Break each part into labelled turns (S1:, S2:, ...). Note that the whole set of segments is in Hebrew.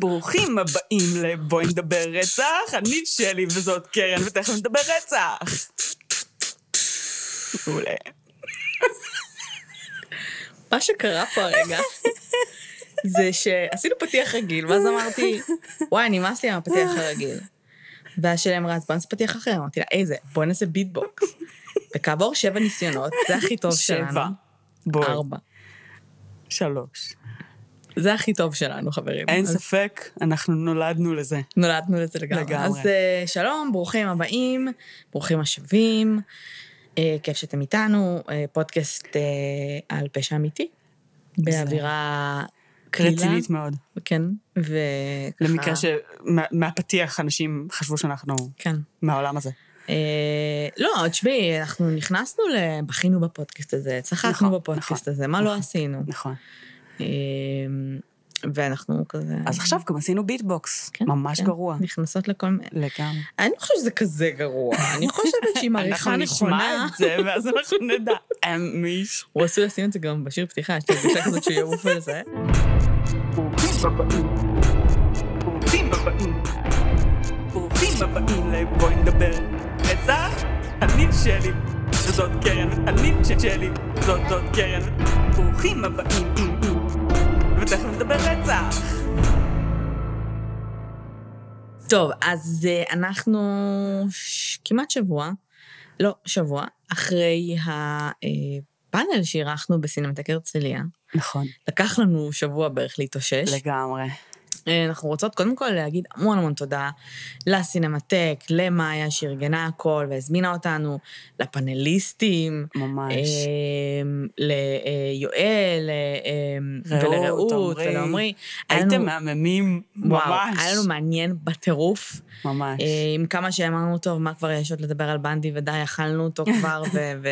S1: ברוכים הבאים ל"בואי נדבר רצח", אני שלי וזאת קרן, ותכף נדבר רצח. מעולה.
S2: מה שקרה פה הרגע, זה שעשינו פתיח רגיל, ואז אמרתי, וואי, נמאס לי מהפתיח הרגיל. ואז שלי אמרה, אז בוא נעשה פתיח אחר. אמרתי לה, איזה, בוא נעשה ביטבוקס. וכעבור שבע ניסיונות, זה הכי טוב שלנו.
S1: שבע. בואי.
S2: ארבע.
S1: שלוש.
S2: זה הכי טוב שלנו, חברים.
S1: אין
S2: אז
S1: ספק, אנחנו נולדנו לזה.
S2: נולדנו לזה לגמרי.
S1: לגמרי.
S2: אז אה, שלום, ברוכים הבאים, ברוכים השבים. אה, כיף שאתם איתנו, אה, פודקאסט אה, על פשע אמיתי, באווירה קלילה.
S1: רצינית מאוד.
S2: כן, וככה...
S1: למקרה שמהפתיח אנשים חשבו שאנחנו
S2: כן.
S1: מהעולם הזה.
S2: אה, לא, תשמעי, אנחנו נכנסנו, ל- בכינו בפודקאסט הזה,
S1: נכון,
S2: צחקנו בפודקאסט
S1: נכון,
S2: הזה, מה לא
S1: נכון.
S2: עשינו?
S1: נכון.
S2: אה, ואנחנו כזה...
S1: אז עכשיו גם עשינו ביטבוקס.
S2: כן,
S1: ממש
S2: כן,
S1: גרוע.
S2: נכנסות לכל מיני...
S1: לגמרי.
S2: אני לא חושבת שזה כזה גרוע, אני חושבת שעם עריכה
S1: אנחנו נשמע
S2: נכונה...
S1: את זה, ואז אנחנו נדע. אמ, מישהו.
S2: הוא עשוי לשים את זה גם בשיר פתיחה, יש לי הרגשה כזאת שהוא יעוף על זה.
S1: ברוכים הבאים. ברוכים הבאים. ברוכים הבאים לבואי נדבר. רצח, אני שלי, וזאת קרן. אני שלי, זאת זאת קרן. ברוכים הבאים. ותכף נדבר רצח.
S2: טוב, אז אה, אנחנו ש- כמעט שבוע, לא, שבוע, אחרי הפאנל שאירחנו בסינמטק הרצליה.
S1: נכון,
S2: לקח לנו שבוע בערך להתאושש.
S1: לגמרי.
S2: אה, אנחנו רוצות קודם כל להגיד המון המון תודה לסינמטק, למאיה שארגנה הכל והזמינה אותנו, לפאנליסטים,
S1: ממש.
S2: אמ, ליואל, אמ,
S1: רעות,
S2: ולרעות
S1: עמרי.
S2: ולעמרי. היה לנו-
S1: הייתם מהממים,
S2: וואו,
S1: ממש.
S2: היה לנו מעניין בטירוף,
S1: ממש.
S2: אה, עם כמה שאמרנו, טוב, מה כבר יש עוד לדבר על בנדי, ודי, אכלנו אותו כבר, ו-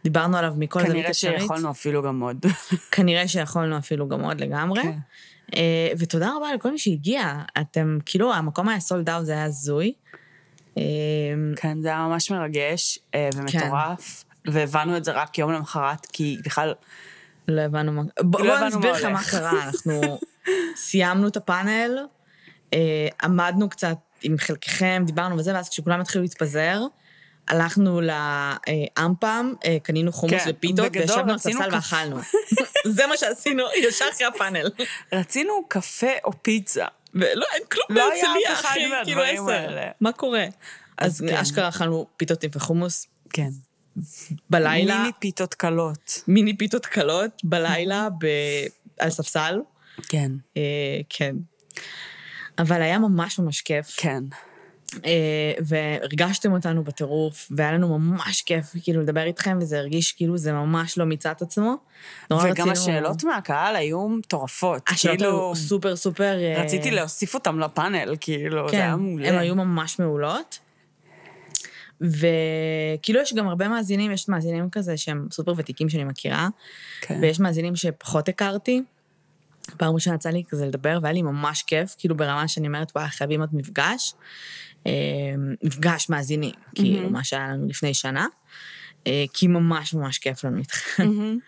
S2: ודיברנו עליו מכל זווית
S1: כנראה
S2: אפשרית.
S1: שיכולנו אפילו גם עוד.
S2: כנראה שיכולנו אפילו גם עוד לגמרי.
S1: כן.
S2: אה, ותודה רבה לכל מי שהגיע. אתם, כאילו, המקום היה סולד אאוט, זה היה הזוי. אה,
S1: כן, זה היה ממש מרגש אה, ומטורף,
S2: כן.
S1: והבנו את זה רק יום למחרת, כי בכלל,
S2: לא הבנו מה... בוא
S1: לא
S2: בוא
S1: הבנו
S2: אני אסביר
S1: מה הולך.
S2: לך מה קרה. אנחנו סיימנו את הפאנל, אה, עמדנו קצת עם חלקכם, דיברנו וזה, ואז כשכולם התחילו להתפזר, הלכנו לאמפם, אה, קנינו חומוס
S1: כן,
S2: ופיתות,
S1: בגדול
S2: וישבנו על
S1: רצינו
S2: ספסל
S1: כף-
S2: ואכלנו. זה מה שעשינו ישר אחרי הפאנל.
S1: רצינו קפה או פיצה.
S2: ולא, אין כלום
S1: לא היה
S2: בהרצליה,
S1: אף אחד
S2: אחי, כאילו
S1: מהדברים
S2: עשר.
S1: האלה.
S2: מה קורה? אוקיי. אז
S1: כן.
S2: אשכרה אכלנו פיתות וחומוס
S1: כן.
S2: בלילה,
S1: מיני פיתות קלות.
S2: מיני פיתות קלות בלילה ב- על ספסל.
S1: כן.
S2: אה, כן. אבל היה ממש ממש כיף,
S1: כן.
S2: אה, והרגשתם אותנו בטירוף, והיה לנו ממש כיף כאילו לדבר איתכם, וזה הרגיש כאילו זה ממש לא מיצה את עצמו. נורא
S1: וגם
S2: רצינו-
S1: השאלות מהקהל היו מטורפות.
S2: השאלות
S1: כאילו,
S2: היו סופר סופר... אה,
S1: רציתי להוסיף אותם לפאנל, כאילו, זה
S2: כן,
S1: היה מעולה.
S2: הן היו ממש מעולות. וכאילו יש גם הרבה מאזינים, יש מאזינים כזה שהם סופר ותיקים שאני מכירה,
S1: כן.
S2: ויש מאזינים שפחות הכרתי. פעם ראשונה יצא לי כזה לדבר, והיה לי ממש כיף, כאילו ברמה שאני אומרת, וואי, חייבים עוד מפגש. אה, מפגש מאזינים,
S1: Mm-hmm.
S2: כאילו, מה שהיה לנו לפני שנה. אה, כי ממש ממש כיף לנו איתכם.
S1: מהמם.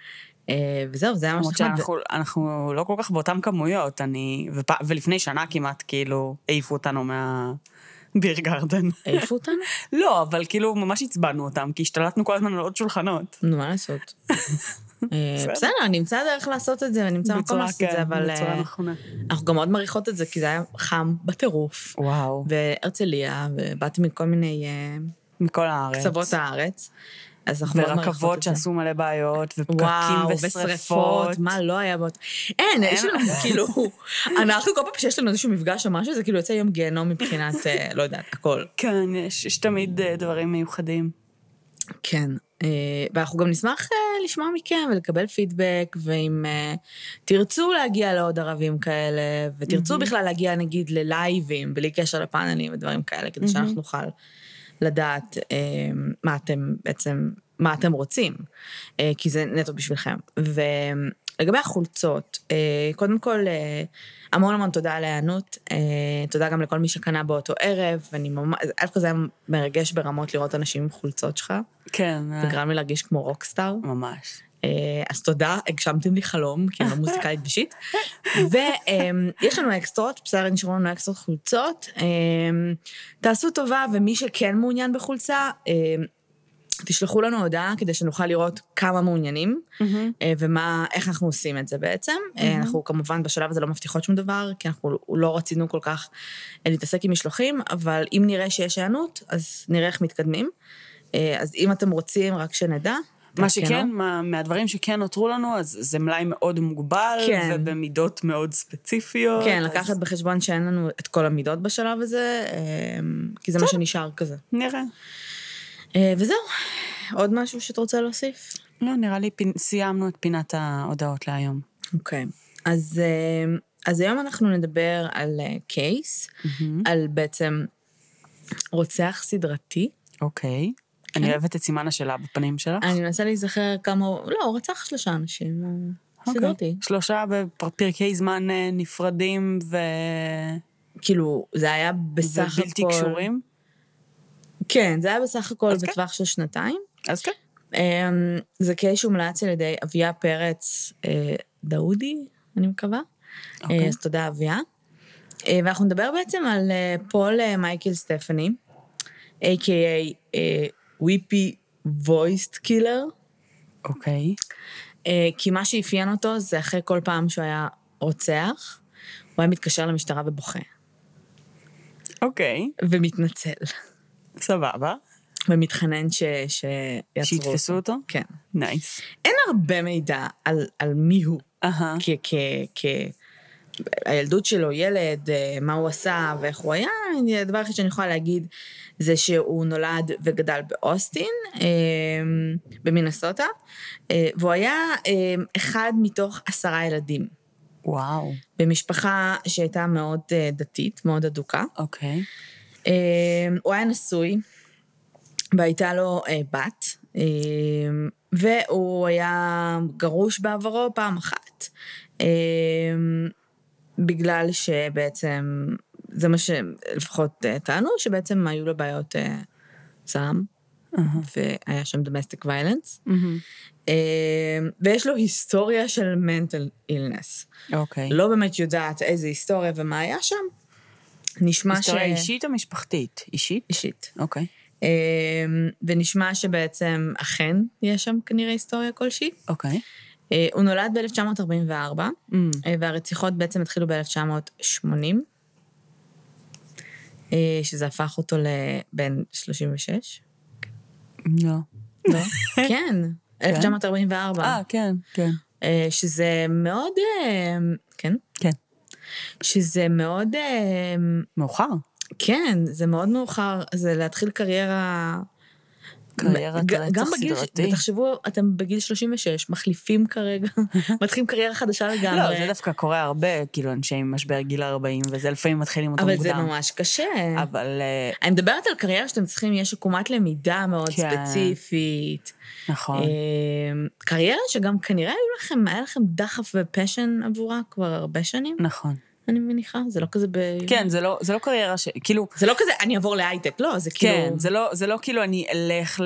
S2: אה, וזהו, זה היה
S1: Mm-hmm.
S2: ממש
S1: למרות שאנחנו אנחנו לא כל כך באותן כמויות, אני... ופ- ולפני שנה כמעט, כאילו, העיפו אותנו מהביר גרדן.
S2: העיפו אותנו?
S1: לא, אבל כאילו, ממש עצבנו אותם, כי השתלטנו כל הזמן על עוד שולחנות.
S2: נו, מה לעשות? אה,
S1: בסדר.
S2: בסדר, נמצא דרך לעשות את זה, ונמצא מקום
S1: בצורה,
S2: לעשות את זה,
S1: כן,
S2: אבל
S1: בצורה
S2: אה,
S1: נכונה.
S2: אנחנו גם מאוד מעריכות את זה, כי זה היה חם בטירוף.
S1: וואו.
S2: והרצליה, ובאתי מכל מיני אה,
S1: מכל הארץ.
S2: קצוות הארץ, אז אנחנו מאוד מעריכות
S1: ורכבות
S2: את זה.
S1: שעשו מלא בעיות, ופקקים
S2: וואו,
S1: ושרפות.
S2: ושרפות, מה לא היה באותו... אין, יש לנו כאילו... אנחנו כל פעם שיש לנו איזשהו מפגש או משהו, זה כאילו יוצא יום גיהנום מבחינת, אה, לא יודעת, הכל.
S1: כן, יש, יש תמיד אה, דברים מיוחדים.
S2: כן, אה, ואנחנו גם נשמח אה, לשמוע מכם ולקבל פידבק, ואם אה, תרצו להגיע לעוד ערבים כאלה, ותרצו בכלל להגיע נגיד ללייבים, בלי קשר לפאנלים ודברים כאלה, כדי שאנחנו נוכל לדעת אה, מה אתם בעצם, מה אתם רוצים, אה, כי זה נטו בשבילכם. ולגבי החולצות, אה, קודם כל, אה, המון המון תודה על ההיענות, אה, תודה גם לכל מי שקנה באותו ערב, ואני ממש, אלף כזה היה מרגש ברמות לראות אנשים עם חולצות שלך.
S1: כן, אה,
S2: זה גרם לי להרגיש כמו רוקסטאר.
S1: ממש.
S2: אה, אז תודה, הגשמתם לי חלום, כי אני לא מוזיקלית בשיט. ויש אה, לנו אקסטרות, בסדר, נשארו לנו אקסטרות חולצות. אה, תעשו טובה, ומי שכן מעוניין בחולצה, אה, תשלחו לנו הודעה כדי שנוכל לראות כמה מעוניינים,
S1: מהמם.
S2: אה, ומה, איך אנחנו עושים את זה בעצם. אה,
S1: Mhm.
S2: אנחנו כמובן בשלב הזה לא מבטיחות שום דבר, כי אנחנו לא רצינו כל כך אה, להתעסק עם משלוחים, אבל אם נראה שיש היענות, אז נראה איך מתקדמים. אה, אז אם אתם רוצים, רק שנדע.
S1: מה
S2: תעדכנו.
S1: שכן, מה- מהדברים שכן נותרו לנו, אז זה מלאי מאוד מוגבל,
S2: כן.
S1: ובמידות מאוד ספציפיות.
S2: כן,
S1: אז
S2: לקחת בחשבון שאין לנו את כל המידות בשלב הזה, אמ, כי זה מה שנשאר כזה.
S1: נראה.
S2: אה, וזהו, עוד משהו שאת רוצה להוסיף?
S1: לא, נראה לי פי- סיימנו את פינת ההודעות להיום.
S2: אוקיי. אז אמ, אז היום אנחנו נדבר על אה, קייס,
S1: מהמם.
S2: על בעצם רוצח סדרתי.
S1: אוקיי. אני אוהבת את סימן השאלה בפנים שלך.
S2: אני מנסה להיזכר כמה הוא... לא, הוא רצח שלושה אנשים, הוא
S1: אוקיי.
S2: סדרתי.
S1: שלושה בפרקי זמן אה, נפרדים ובלתי
S2: כאילו, זה היה בסך הכל...
S1: קשורים.
S2: כן, זה היה בסך הכל
S1: אז כן.
S2: בטווח של שנתיים.
S1: אז כן.
S2: אמ, זה קייס שהומלץ על ידי אביה פרץ אה, דאודי, אני מקווה.
S1: אוקיי.
S2: אה, אז תודה, אביה. אה, ואנחנו נדבר בעצם על אה, פול אה, מייקל סטפני, a.k.a. אה, וויפי וויסט קילר,
S1: אוקיי.
S2: אה, כי מה שאפיין אותו זה אחרי כל פעם שהוא היה רוצח, הוא היה מתקשר למשטרה ובוכה,
S1: אוקיי,
S2: ומתנצל,
S1: סבבה.
S2: ומתחנן ש- שיעצרו אותו.
S1: שיתפסו אותו?
S2: כן.
S1: נייס.
S2: אין הרבה מידע על, על מי הוא.
S1: אהה.
S2: כ... כ... כ... הילדות שלו, ילד, אה, מה הוא עשה ואיך הוא היה, אני- הדבר היחיד שאני יכולה להגיד זה שהוא נולד וגדל באוסטין, אה, במינסוטה, אה, והוא היה אה, אחד מתוך עשרה ילדים,
S1: וואו.
S2: במשפחה שהייתה מאוד אה, דתית, מאוד אדוקה.
S1: אוקיי.
S2: אה, הוא היה נשוי, והייתה לו אה, בת, אה, והוא היה גרוש בעברו פעם אחת, אה, בגלל שבעצם, זה מה שלפחות אה, טענו, שבעצם היו לו בעיות אה, זעם,
S1: אהה.
S2: והיה שם domestic violence,
S1: מהמם.
S2: אה, ויש לו היסטוריה של mental illness.
S1: אוקיי.
S2: לא באמת יודעת איזה היסטוריה ומה היה שם. נשמע
S1: היסטוריה אישית או משפחתית? אישית?
S2: אישית.
S1: אוקיי.
S2: אמ, ונשמע שבעצם אכן יש שם כנראה היסטוריה כלשהי.
S1: אוקיי.
S2: אה, הוא נולד ב-1944, אה,
S1: אמ,
S2: והרציחות בעצם התחילו ב-1980, אה, שזה הפך אותו לבן 36.
S1: לא.
S2: לא? כן, 1944,
S1: אה, כן, כן.
S2: אה, שזה מאוד... אה, כן?
S1: כן.
S2: שזה מאוד... אה,
S1: מאוחר.
S2: כן, זה מאוד מאוחר, זה להתחיל קריירה...
S1: קריירת
S2: ג-
S1: רצח
S2: גם בגיל,
S1: סדרתי.
S2: ותחשבו, אתם בגיל 36, מחליפים כרגע, מתחילים קריירה חדשה לגמרי.
S1: לא, זה דווקא קורה הרבה, כאילו, אנשי עם משבר גיל 40, וזה לפעמים מתחילים אותו
S2: אבל זה
S1: מוקדם.
S2: ממש קשה.
S1: אבל אה,
S2: אני מדברת על קריירה שאתם צריכים, יש עקומת למידה מאוד
S1: כן.
S2: ספציפית.
S1: נכון.
S2: אמ, קריירה שגם כנראה היו לכם, היה לכם דחף ופשן עבורה כבר הרבה שנים,
S1: נכון.
S2: אני מניחה, זה לא כזה ב...
S1: כן, זה לא- זה לא קריירה ש... כאילו,
S2: זה לא כזה, אני אעבור להייטק, לא, זה כאילו...
S1: כן, זה לא- זה לא כאילו אני אלך
S2: זה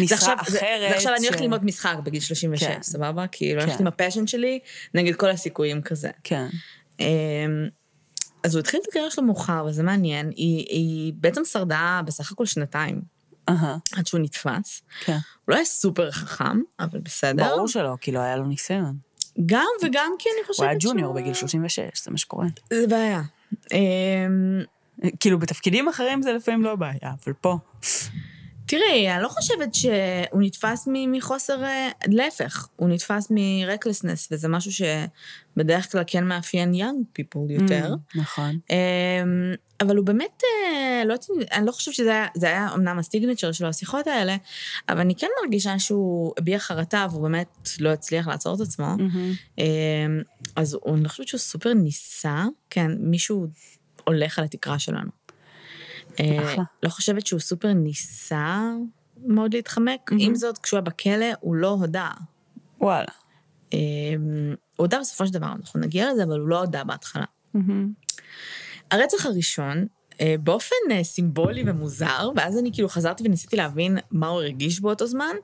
S1: למשרה
S2: עכשיו, זה-
S1: אחרת.
S2: זה עכשיו אני
S1: ש-
S2: הולכת ללמוד משחק בגיל 36,
S1: כן.
S2: סבבה? כאילו, אני הולכת
S1: כן.
S2: עם הפשן שלי נגד כל הסיכויים כזה.
S1: כן.
S2: אמ, אז הוא התחיל את הקריירה שלו מאוחר, וזה מעניין. היא, היא בעצם שרדה בסך הכל שנתיים
S1: אהה,
S2: עד שהוא נתפס.
S1: כן.
S2: הוא לא היה סופר חכם, אבל בסדר.
S1: ברור שלא, כאילו, היה לו ניסיון.
S2: גם וגם כי אני חושבת
S1: הוא היה ג'וניור
S2: שהוא-
S1: בגיל 36, זה מה שקורה.
S2: זה בעיה. אמ,
S1: כאילו, בתפקידים אחרים זה לפעמים לא בעיה, אבל פה...
S2: תראי, אני לא חושבת שהוא נתפס מ- מחוסר... אה, להפך, הוא נתפס מ-recklessness, וזה משהו שבדרך כלל כן מאפיין young people יותר.
S1: Mm, נכון.
S2: אמ, אבל הוא באמת, אה, לא, יודעת, אני לא חושבת שזה היה, זה היה אמנם הסטיגנצ'ר שלו, השיחות האלה, אבל אני כן מרגישה שהוא הביע חרטה והוא באמת לא הצליח לעצור את עצמו.
S1: מהמם.
S2: אמ, אז הוא- אני לא חושבת שהוא סופר ניסה, כן, מישהו הולך על התקרה שלנו. אה,
S1: אחלה.
S2: לא חושבת שהוא סופר ניסה מאוד להתחמק.
S1: מהמם.
S2: עם זאת, כשהוא היה בכלא, הוא לא הודה.
S1: וואלה.
S2: אמ, הוא הודה בסופו של דבר, אנחנו נגיע לזה, אבל הוא לא הודה בהתחלה.
S1: מהמם.
S2: הרצח הראשון אה, באופן אה, סימבולי ומוזר, ואז אני כאילו חזרתי וניסיתי להבין מה הוא הרגיש באותו זמן,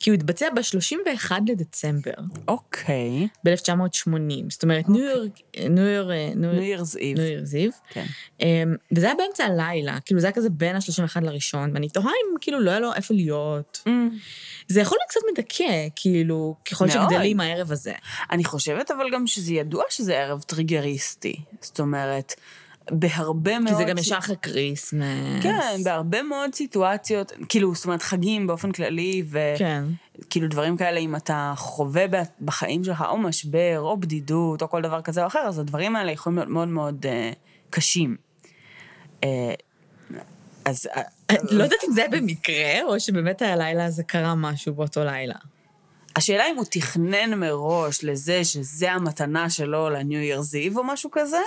S2: כי הוא התבצע ב-31 לדצמבר
S1: אוקיי.
S2: ב-1980. זאת אומרת, ניו יורק, אה, ניו יורק, ניו
S1: ניו
S2: יורק,
S1: ירז איב.
S2: ניו יורק זיו.
S1: כן.
S2: אמ, וזה היה באמצע הלילה, כאילו זה היה כזה בין ה-31 לראשון, ואני תוהה אם כאילו לא היה לו איפה להיות.
S1: Mm.
S2: זה יכול להיות קצת מדכא, כאילו, ככל
S1: מאוד.
S2: שגדלים הערב הזה.
S1: אני חושבת אבל גם שזה ידוע שזה ערב טריגריסטי. זאת אומרת, בהרבה מאוד...
S2: כי זה גם
S1: סיט-
S2: ישר אחרי כריסמס.
S1: כן, בהרבה מאוד סיטואציות, כאילו, זאת אומרת, חגים באופן כללי,
S2: כן.
S1: וכאילו כאילו דברים כאלה, אם אתה חווה ב- בחיים שלך או משבר, או בדידות, או כל דבר כזה או אחר, אז הדברים האלה יכולים להיות מאוד מאוד אה, קשים. אה, אז... אה,
S2: לא יודעת אם זה היה במקרה, או שבאמת הלילה הזה קרה משהו באותו לילה.
S1: השאלה אם הוא תכנן מראש לזה שזה המתנה שלו לניו ירז איב או משהו כזה,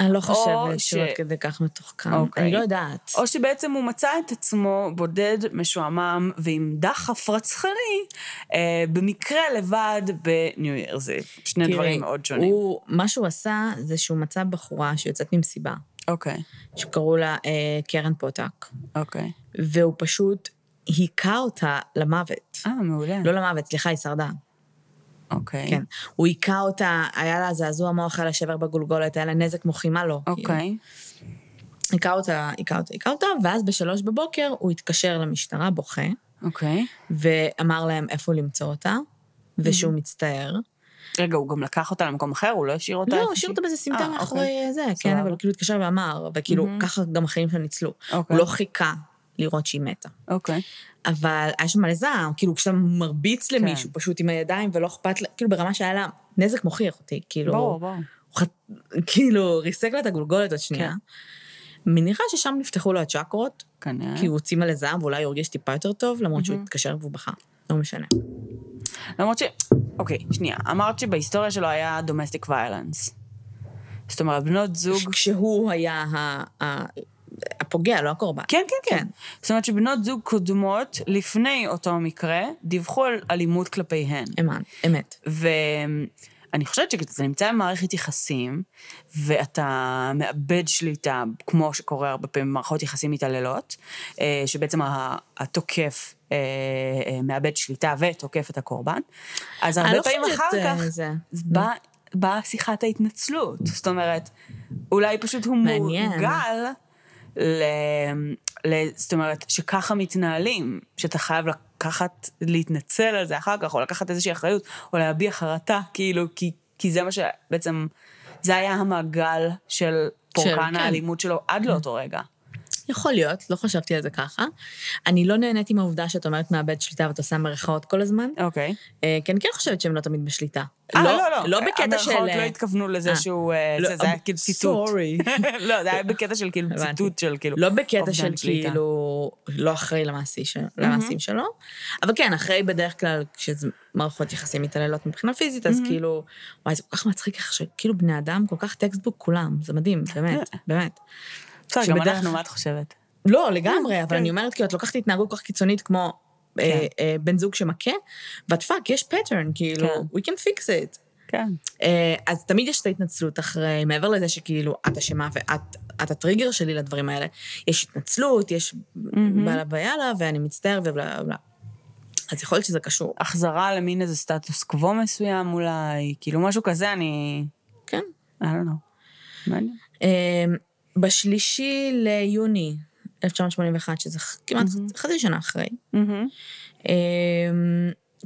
S2: אני לא
S1: חושבת
S2: חושבת
S1: שהוא
S2: שהוא
S1: עד
S2: כדי כך מתוחכם.
S1: אוקיי.
S2: אני לא יודעת.
S1: או שבעצם הוא מצא את עצמו בודד, משועמם ועם דחף רצחני, אה, במקרה לבד בניו ירז איב. שני
S2: תראי,
S1: דברים מאוד שונים.
S2: הוא, מה שהוא עשה, זה שהוא מצא בחורה שיוצאת ממסיבה,
S1: אוקיי,
S2: שקראו לה אה, קרן פוטק,
S1: אוקיי.
S2: והוא פשוט היכה אותה למוות.
S1: אה, מעולה.
S2: לא למוות, סליחה, היא שרדה.
S1: אוקיי.
S2: כן. הוא היכה אותה, היה לה זעזוע מוח, היה לה שבר בגולגולת, היה לה נזק מוחי, מה לא? כאילו.
S1: אוקיי.
S2: היכה אותה, היכה אותה, היכה אותה, ואז בשלוש בבוקר הוא התקשר למשטרה, בוכה,
S1: אוקיי.
S2: ואמר להם איפה למצוא אותה, ושהוא
S1: Mm-hmm.
S2: מצטער.
S1: רגע, הוא גם לקח אותה למקום אחר? הוא לא השאיר אותה?
S2: לא,
S1: איפה
S2: הוא השאיר
S1: שהיא?
S2: אותה באיזה
S1: אה,
S2: סמטה מאחורי זה, כן,
S1: סבבה.
S2: אבל הוא כאילו התקשר ואמר, וכאילו,
S1: מהמם.
S2: ככה גם החיים שלה ניצלו.
S1: אוקיי.
S2: הוא לא חיכה לראות שהיא מתה.
S1: אוקיי.
S2: אבל היה שם מלא זעם, כאילו, כשאתה מרביץ
S1: כן.
S2: למישהו פשוט עם הידיים ולא אכפת, לה- כאילו, ברמה שהיה לה נזק מוחי איכותי, כאילו...
S1: ברור, ברור.
S2: הוא חת- כאילו, ריסק לה את הגולגולת עוד שנייה.
S1: כן.
S2: מניחה ששם נפתחו לו הצ'קרות,
S1: כנראה.
S2: כי הוא הוציא מלא זעם ואולי הוא הרגיש טיפה יותר טוב, למרות
S1: Mm-hmm.
S2: שהוא התקשר והוא בכה. לא משנה.
S1: למרות ש... אוקיי, שנייה. אמרת שבהיסטוריה שלו היה domestic violence. זאת אומרת, בנות זוג...
S2: כשהוא היה ה- ה- הפוגע, לא הקורבן.
S1: כן, כן, כן.
S2: כן.
S1: זאת אומרת שבנות זוג קודמות, לפני אותו מקרה, דיווחו על אלימות כלפיהן.
S2: אמן, אמת.
S1: ואני חושבת שכשאתה נמצא במערכת יחסים, ואתה מאבד שליטה, כמו שקורה הרבה פעמים במערכות יחסים מתעללות, אה, שבעצם ה- התוקף אה, אה, מאבד שליטה ותוקף את הקורבן, אז
S2: אני
S1: הרבה
S2: לא
S1: פעמים
S2: חושבת,
S1: אחר
S2: אה,
S1: כך
S2: זה.
S1: באה בא שיחת ההתנצלות. זאת אומרת, אולי פשוט הוא
S2: מעניין.
S1: מורגל, ל, ל, זאת אומרת, שככה מתנהלים, שאתה חייב לקחת, להתנצל על זה אחר כך, או לקחת איזושהי אחריות, או להביע חרטה, כאילו, כי, כי זה מה שבעצם, זה היה המעגל של פורקן
S2: כן.
S1: האלימות שלו עד לאותו רגע.
S2: יכול להיות, לא חשבתי על זה ככה. אני לא נהנית עם העובדה שאת אומרת מאבד שליטה ואת עושה מרכאות כל הזמן,
S1: אוקיי.
S2: אה, כי אני כן חושבת שהם לא תמיד בשליטה.
S1: אה, לא, לא.
S2: לא בקטע של...
S1: המרכאות לא התכוונו לזה
S2: אה.
S1: שהוא... אה,
S2: לא,
S1: זה, זה היה
S2: אה,
S1: כאילו ציטוט.
S2: sorry.
S1: לא, זה היה בקטע של כאילו
S2: הבנתי.
S1: ציטוט של כאילו...
S2: לא בקטע
S1: אובדן
S2: של
S1: שליטה.
S2: כאילו, לא אחראי למעשי של- למעשים שלו, אבל כן, אחראי בדרך כלל כשזה מערכות יחסים מתעללות מבחינה פיזית, אז כאילו, וואי, זה כל כך מצחיק איך שכאילו בני אדם, כל כך טקסטבוק כולם, זה מדהים, באמת, באמת.
S1: בסדר, גם
S2: שבדרך-
S1: אנחנו, מה את חושבת?
S2: לא, לגמרי, אבל
S1: כן.
S2: אני אומרת, כאילו, את לוקחת התנהגות כל כך קיצונית כמו אה, אה, בן זוג שמכה, ואת פאק, יש pattern, כאילו,
S1: כן.
S2: we can fix it.
S1: כן.
S2: אה, אז תמיד יש את ההתנצלות אחרי, מעבר לזה שכאילו, את אשמה ואת את הטריגר שלי לדברים האלה. יש התנצלות, יש בעלה ביאללה, ואני מצטער ובלה בלה. אז יכול להיות שזה קשור.
S1: החזרה למין איזה סטטוס קוו מסוים אולי, כאילו משהו כזה, אני...
S2: כן.
S1: I don't know. מעניין.
S2: אה, בשלישי ליוני 1981, שזה ח- כמעט חצי שנה אחרי,
S1: מהמם.
S2: אה,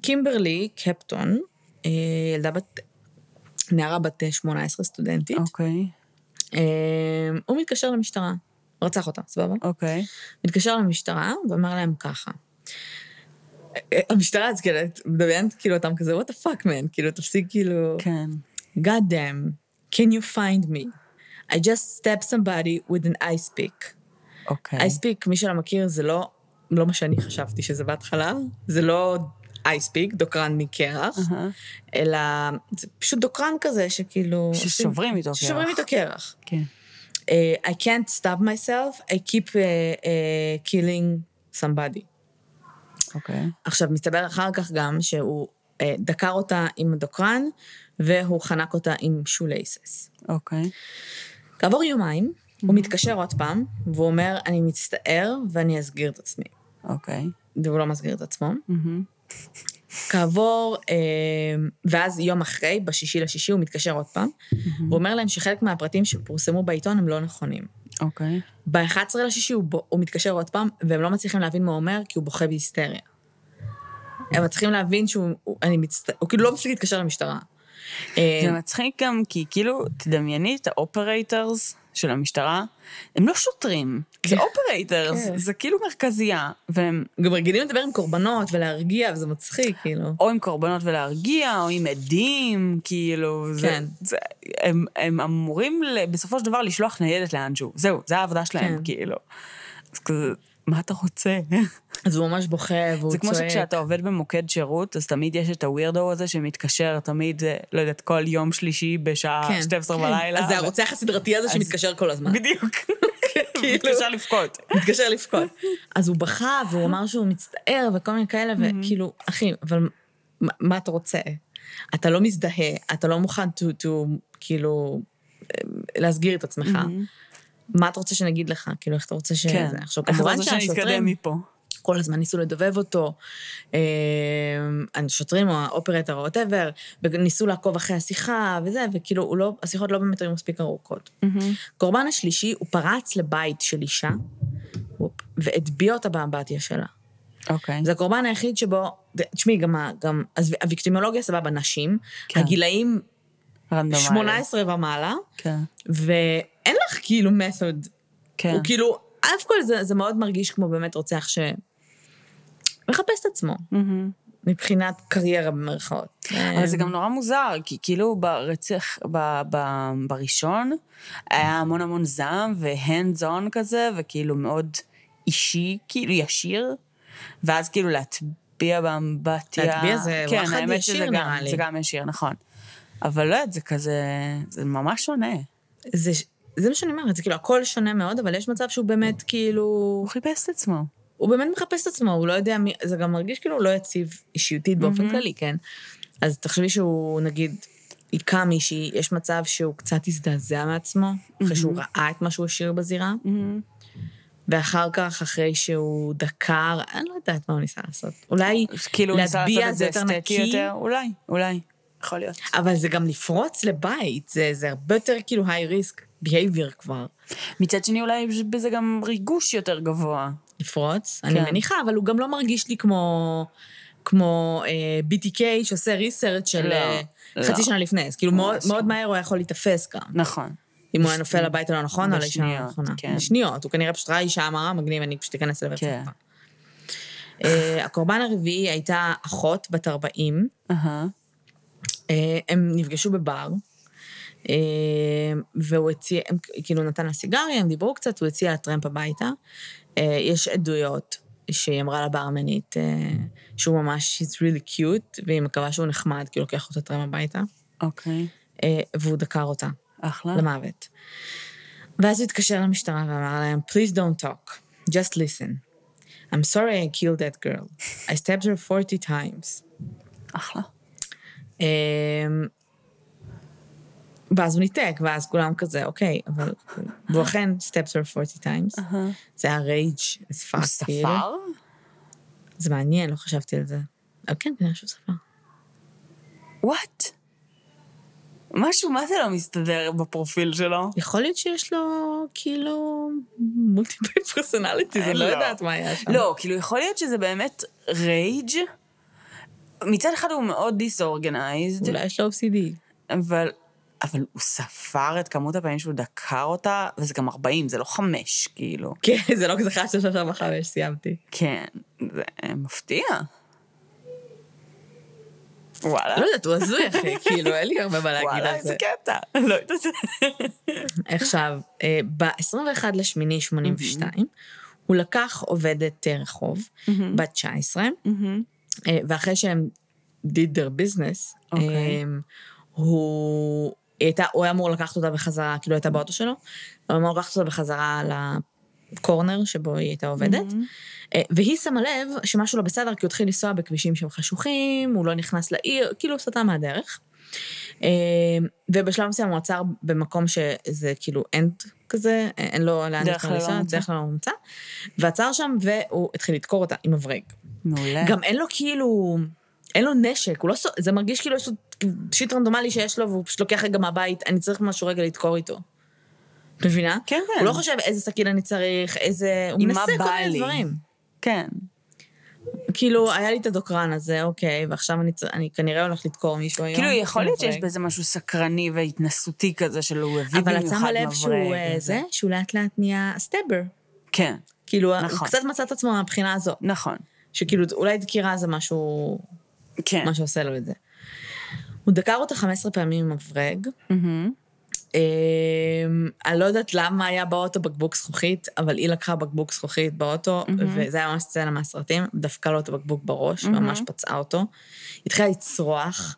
S2: קימברלי קפטון, אה, ילדה בת... נערה בת 18 סטודנטית,
S1: אוקיי,
S2: אה, הוא מתקשר למשטרה, רצח אותה, סבבה?
S1: אוקיי.
S2: מתקשר למשטרה ואומר להם ככה. המשטרה, אז כאילו, את מדמיינת כאילו אותם כזה, what the fuck man, כאילו, תפסיק כאילו,
S1: כן.
S2: God damn, can you find me? I just stab somebody with an ice pick.
S1: אוקיי.
S2: ice pick, מי שלא מכיר, זה לא, לא מה שאני חשבתי שזה בהתחלה, זה לא ice pick, דוקרן מקרח,
S1: אהה.
S2: אלא זה פשוט דוקרן כזה שכאילו...
S1: ששוברים איתו קרח.
S2: ששוברים איתו קרח.
S1: כן.
S2: אה, I can't stop myself, I keep אה, אה, killing somebody.
S1: אוקיי.
S2: עכשיו, מסתבר אחר כך גם שהוא אה, דקר אותה עם דוקרן, והוא חנק אותה עם שולייסס.
S1: אוקיי.
S2: כעבור יומיים, הוא מתקשר עוד פעם, והוא אומר, אני מצטער ואני אסגיר את עצמי.
S1: אוקיי.
S2: והוא לא מסגיר את עצמו.
S1: מהמם.
S2: כעבור, אה, ואז יום אחרי, בשישי לשישי, הוא מתקשר עוד פעם,
S1: מהמם.
S2: הוא אומר להם שחלק מהפרטים שפורסמו בעיתון הם לא נכונים.
S1: אוקיי.
S2: ב-11 לשישי הוא, בו- הוא מתקשר עוד פעם, והם לא מצליחים להבין מה הוא אומר, כי הוא בוכה בהיסטריה. הם מצליחים להבין שהוא, הוא, אני מצטער, הוא כאילו לא מפסיק להתקשר למשטרה. אה,
S1: זה מצחיק גם כי כאילו, תדמייני את האופרייטרס של המשטרה, הם לא שוטרים, זה
S2: כן.
S1: אופרייטרס,
S2: כן.
S1: זה כאילו מרכזייה, והם
S2: גם רגילים לדבר עם קורבנות ולהרגיע, וזה מצחיק, כאילו.
S1: או עם קורבנות ולהרגיע, או עם עדים, כאילו, זה,
S2: כן.
S1: זה, הם, הם אמורים ל- בסופו של דבר לשלוח ניידת לאנשהו, זהו, זו העבודה שלהם,
S2: כן.
S1: כאילו. אז כזה, מה אתה רוצה?
S2: אז הוא ממש בוכה, והוא
S1: זה כמו
S2: צועק.
S1: שכשאתה עובד במוקד שירות, אז תמיד יש את הווירדו הזה שמתקשר תמיד, אה, לא יודעת, כל יום שלישי בשעה
S2: כן,
S1: 12
S2: כן.
S1: בלילה.
S2: אז זה
S1: ו-
S2: הרוצח הסדרתי הזה
S1: אז-
S2: שמתקשר כל הזמן.
S1: בדיוק.
S2: כאילו.
S1: מתקשר לבכות.
S2: מתקשר לבכות. אז הוא בכה, והוא אמר שהוא מצטער, וכל מיני כאלה, וכאילו, אחי, אבל מה- מה אתה רוצה? אתה לא מזדהה, אתה לא מוכן to, to, כאילו, אה, להסגיר את עצמך. מה אתה רוצה שנגיד לך? כאילו, איך אתה רוצה ש...
S1: כן.
S2: זה? עכשיו,
S1: איך אתה
S2: כמובן
S1: רוצה שנתקדם
S2: שהשוטרים
S1: מפה?
S2: כל הזמן ניסו לדובב אותו, אה, השוטרים או האופרטר או וואטאבר, וניסו לעקוב אחרי השיחה וזה, וכאילו, הוא לא, השיחות לא באמת היו מספיק ארוכות. הקורבן השלישי, הוא פרץ לבית של אישה, וופ, והטביע אותה באמבטיה שלה.
S1: אוקיי.
S2: זה הקורבן היחיד שבו, תשמעי, גם, ה- גם אז הוויקטימולוגיה סבבה, נשים,
S1: כן. לא
S2: הגילאים
S1: רנדומלי.
S2: 18 ומעלה,
S1: כן.
S2: ואין לך כאילו method.
S1: כן.
S2: הוא כאילו, אף כל זה, זה מאוד מרגיש כמו באמת רוצח ש... מחפש את עצמו,
S1: מהמם.
S2: מבחינת קריירה במרכאות.
S1: אבל זה גם נורא מוזר, כי כאילו ברצח, ב, ב, בראשון, היה המון המון זעם והנדס און כזה, וכאילו מאוד אישי, כאילו ישיר, ואז כאילו להטביע באמבטיה. כן,
S2: להטביע זה וואחד
S1: האמת
S2: ישיר,
S1: שזה גם-
S2: נראה לי.
S1: זה גם ישיר, נכון. אבל לא יודעת, זה כזה, זה ממש שונה.
S2: זה, זה מה שאני אומרת, זה כאילו, הכל שונה מאוד, אבל יש מצב שהוא באמת כאילו...
S1: הוא חיפש את עצמו.
S2: הוא באמת מחפש את עצמו, הוא לא יודע מי... זה גם מרגיש כאילו הוא לא יציב אישיותית באופן
S1: מהמם.
S2: כללי, כן? אז תחשבי שהוא, נגיד, היכה מישהי, יש מצב שהוא קצת הזדעזע מעצמו, אחרי שהוא ראה את מה שהוא השאיר בזירה, ואחר כך, אחרי שהוא דקר, אני לא יודעת מה הוא ניסה לעשות. אולי,
S1: אז כאילו, הוא ניסה לעשות
S2: להטביע
S1: את
S2: זה
S1: זה
S2: יותר
S1: אסתטי
S2: נקי.
S1: יותר, אולי, אולי. יכול להיות.
S2: אבל זה גם לפרוץ לבית, זה, זה הרבה יותר כאילו היי ריסק behavior כבר.
S1: מצד שני, אולי יש בזה גם ריגוש יותר גבוה.
S2: לפרוץ, כן.
S1: כן.
S2: אני מניחה, אבל הוא גם לא מרגיש לי כמו, כמו אה, BTK שעושה ריסרט של
S1: לא,
S2: אה,
S1: לא.
S2: חצי שנה לפני, אז כאילו מאוד,
S1: ממש
S2: מאוד
S1: לא.
S2: מהר הוא היה יכול להיתפס גם.
S1: נכון.
S2: אם הוא היה נופל לבית הלא נכון, או לאישה
S1: בשניות,
S2: הנכונה.
S1: כן.
S2: בשניות, הוא כנראה פשוט ראה אישה אמרה, מגניב, אני פשוט אכנס לבית
S1: כן.
S2: ספר. אה, הקורבן הרביעי הייתה אחות בת 40,
S1: אהה.
S2: אה, הם נפגשו בבר, אה, והוא הציע, הם, כאילו נתן לה סיגריה, הם דיברו קצת, הוא הציע לה טרמפ הביתה. אה, יש עדויות שהיא אמרה לברמנית אה, שהוא ממש, he's really cute, והיא מקווה שהוא נחמד, כי הוא לוקח אותה טרמפ הביתה,
S1: אוקיי.
S2: אה, והוא דקר אותה
S1: אחלה.
S2: למוות. ואז הוא התקשר למשטרה ואמר להם, please don't talk, just listen. I'm sorry I killed that girl. I stabbed her 40 times.
S1: אחלה.
S2: אמ, ואז הוא ניתק, ואז כולם כזה, אוקיי, אבל... והוא אכן, steps are 40 times. זה היה רייג' as
S1: הוא
S2: fuck, כאילו.
S1: ספר?
S2: זה מעניין, לא חשבתי על זה. אבל כן, כנראה שהוא ספר.
S1: וואט? משהו, מה זה לא מסתדר בפרופיל שלו?
S2: יכול להיות שיש לו, כאילו, מולטיפל פרסונליטיז, אני לא
S1: לא.
S2: יודעת מה היה שם.
S1: לא, כאילו, יכול להיות שזה באמת רייג'. מצד אחד הוא מאוד דיסאורגנייזד,
S2: אולי יש לו OCD.
S1: אבל... אבל הוא ספר את כמות הפעמים שהוא דקר אותה, וזה גם 40, זה לא חמש, כאילו.
S2: כן, זה לא כזה חש שלושה שלושה וחמש, סיימתי.
S1: כן, זה מפתיע. וואלה,
S2: לא יודעת, הוא הזוי, אחי, כאילו, אין לי הרבה מה להגיד
S1: וואלה,
S2: על
S1: איזה
S2: זה.
S1: קטע. לא יודעת.
S2: עכשיו, ב-21 לשמיני 82, הוא לקח עובדת אה, רחוב,
S1: מהמם.
S2: בת 19,
S1: מהמם.
S2: אה, ואחרי שהם did their business,
S1: אוקיי.
S2: אמ, הוא... היא הייתה, הוא היה אמור לקחת אותה בחזרה, כאילו הייתה באוטו שלו, הוא אמור לקחת אותה בחזרה לקורנר שבו היא הייתה עובדת,
S1: מהמם.
S2: אה, והיא שמה לב שמשהו לא בסדר, כי הוא התחיל לנסוע בכבישים שהם חשוכים, הוא לא נכנס לעיר, כאילו הוא סטה מהדרך. אה, ובשלב מסוים הוא עצר במקום שזה כאילו end כזה, אין לו לאן
S1: דרך
S2: להתפרסם,
S1: ללא מוצא.
S2: דרך כלל לא מומצא. ועצר שם, והוא התחיל לדקור אותה עם מברג.
S1: מעולה.
S2: גם אין לו כאילו, אין לו נשק, הוא לא, ס- זה מרגיש כאילו יש לו שיט רנדומלי שיש לו, והוא פשוט לוקח רגע מהבית, אני צריך משהו רגע לדקור איתו. את מבינה?
S1: כן, כן.
S2: הוא לא חושב איזה סכין אני צריך, איזה... הוא
S1: עם
S2: מנסה
S1: מה
S2: כל
S1: בא
S2: מיני
S1: לי.
S2: דברים.
S1: כן.
S2: כאילו, היה לי את הדוקרן הזה, אוקיי, ועכשיו אני, צר- אני כנראה הולך לדקור מישהו היום. כן,
S1: כאילו, יכול להיות שיש
S2: מברג.
S1: בזה משהו סקרני והתנסותי כזה, של הוא הביא
S2: אבל
S1: במיוחד מברג.
S2: את שמה לב שהוא אה, זה, שהוא לאט לאט נהיה סטבר.
S1: כן,
S2: כאילו, הוא
S1: נכון.
S2: קצת מצא את עצמו מהבחינה הזו,
S1: נכון.
S2: שכאילו, אולי דקירה זה משהו,
S1: כן.
S2: מה שעושה לו את זה. הוא דקר אותה 15 פעמים עם מברג.
S1: מהמם.
S2: אמ, אני לא יודעת למה היה באוטו בקבוק זכוכית, אבל היא לקחה בקבוק זכוכית באוטו, וזה היה ממש סצנה מהסרטים, דפקה לו את הבקבוק בראש, ממש פצעה אותו. היא התחילה לצרוח,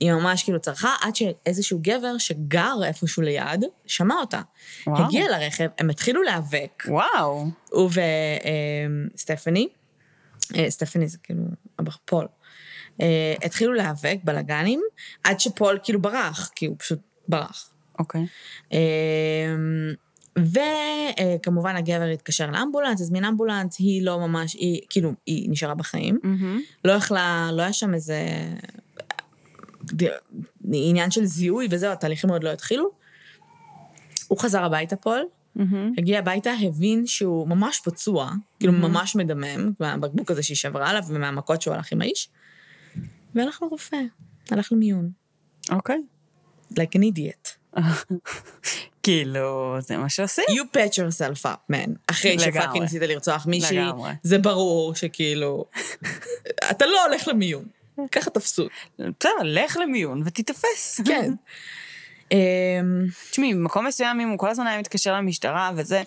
S2: היא ממש כאילו צרחה, עד שאיזשהו גבר שגר איפשהו ליד, שמע אותה.
S1: וואו.
S2: הגיע לרכב, הם התחילו להיאבק,
S1: וואו.
S2: הוא וסטפני, סטפני זה כאילו הבח- פול, אה, התחילו להיאבק בלאגנים, עד שפול כאילו ברח, כי הוא פשוט ברח. אמ,
S1: אוקיי.
S2: וכמובן אה, הגבר התקשר לאמבולנס, הזמין אמבולנס, היא לא ממש, היא כאילו, היא נשארה בחיים.
S1: מהמם.
S2: לא יכלה, לא היה שם איזה ד- עניין של זיהוי וזהו, התהליכים עוד לא התחילו. הוא חזר הביתה פול,
S1: מהמם.
S2: הגיע הביתה, הבין שהוא ממש פצוע, כאילו
S1: Mm-hmm.
S2: ממש מדמם, מהבקבוק הזה שהיא שברה עליו ומהמכות שהוא הלך עם האיש, והלך לרופא, הלך למיון,
S1: אוקיי.
S2: like an idiot.
S1: כאילו, זה מה שעושים.
S2: You patch yourself up, man. אחרי
S1: לגמרי.
S2: שפאקינג ניסית לרצוח מישהי,
S1: לגמרי.
S2: זה ברור שכאילו... אתה לא הולך למיון. ככה תפסו.
S1: בסדר, לך למיון ותיתפס.
S2: כן. אמ,
S1: תשמעי, במקום מסוים, אם הוא כל הזמן היה מתקשר למשטרה וזה,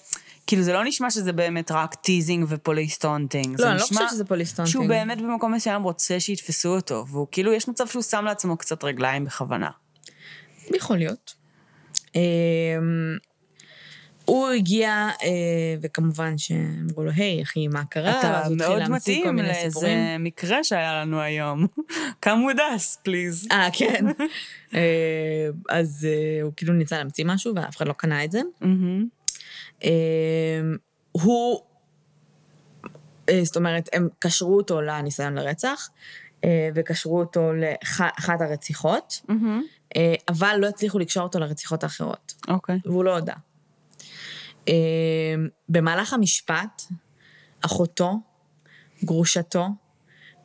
S1: כאילו, זה לא נשמע שזה באמת רק טיזינג ופוליס טונטינג.
S2: לא, אני לא חושבת שזה פוליס טונטינג.
S1: שהוא באמת במקום מסוים רוצה שיתפסו אותו, והוא כאילו, יש מצב שהוא שם לעצמו קצת רגליים בכוונה.
S2: יכול להיות. אמ, הוא הגיע, אה, וכמובן שאמרו לו, היי, אחי, מה קרה?
S1: אתה
S2: ואז אה, הוא התחיל
S1: מאוד
S2: להמציא כל
S1: מתאים
S2: מיני סיפורים.
S1: לאיזה מקרה שהיה לנו היום. Come with us, please.
S2: אה, כן. אה, אז אה, הוא כאילו ניסה להמציא משהו, ואף אחד לא קנה את זה.
S1: מהמם.
S2: אמ, הוא, אה, זאת אומרת, הם קשרו אותו לניסיון לרצח, אה, וקשרו אותו לאחת הרציחות,
S1: מהמם.
S2: אה, אבל לא הצליחו לקשור אותו לרציחות האחרות,
S1: אוקיי.
S2: והוא לא הודה. אמ, במהלך המשפט, אחותו, גרושתו,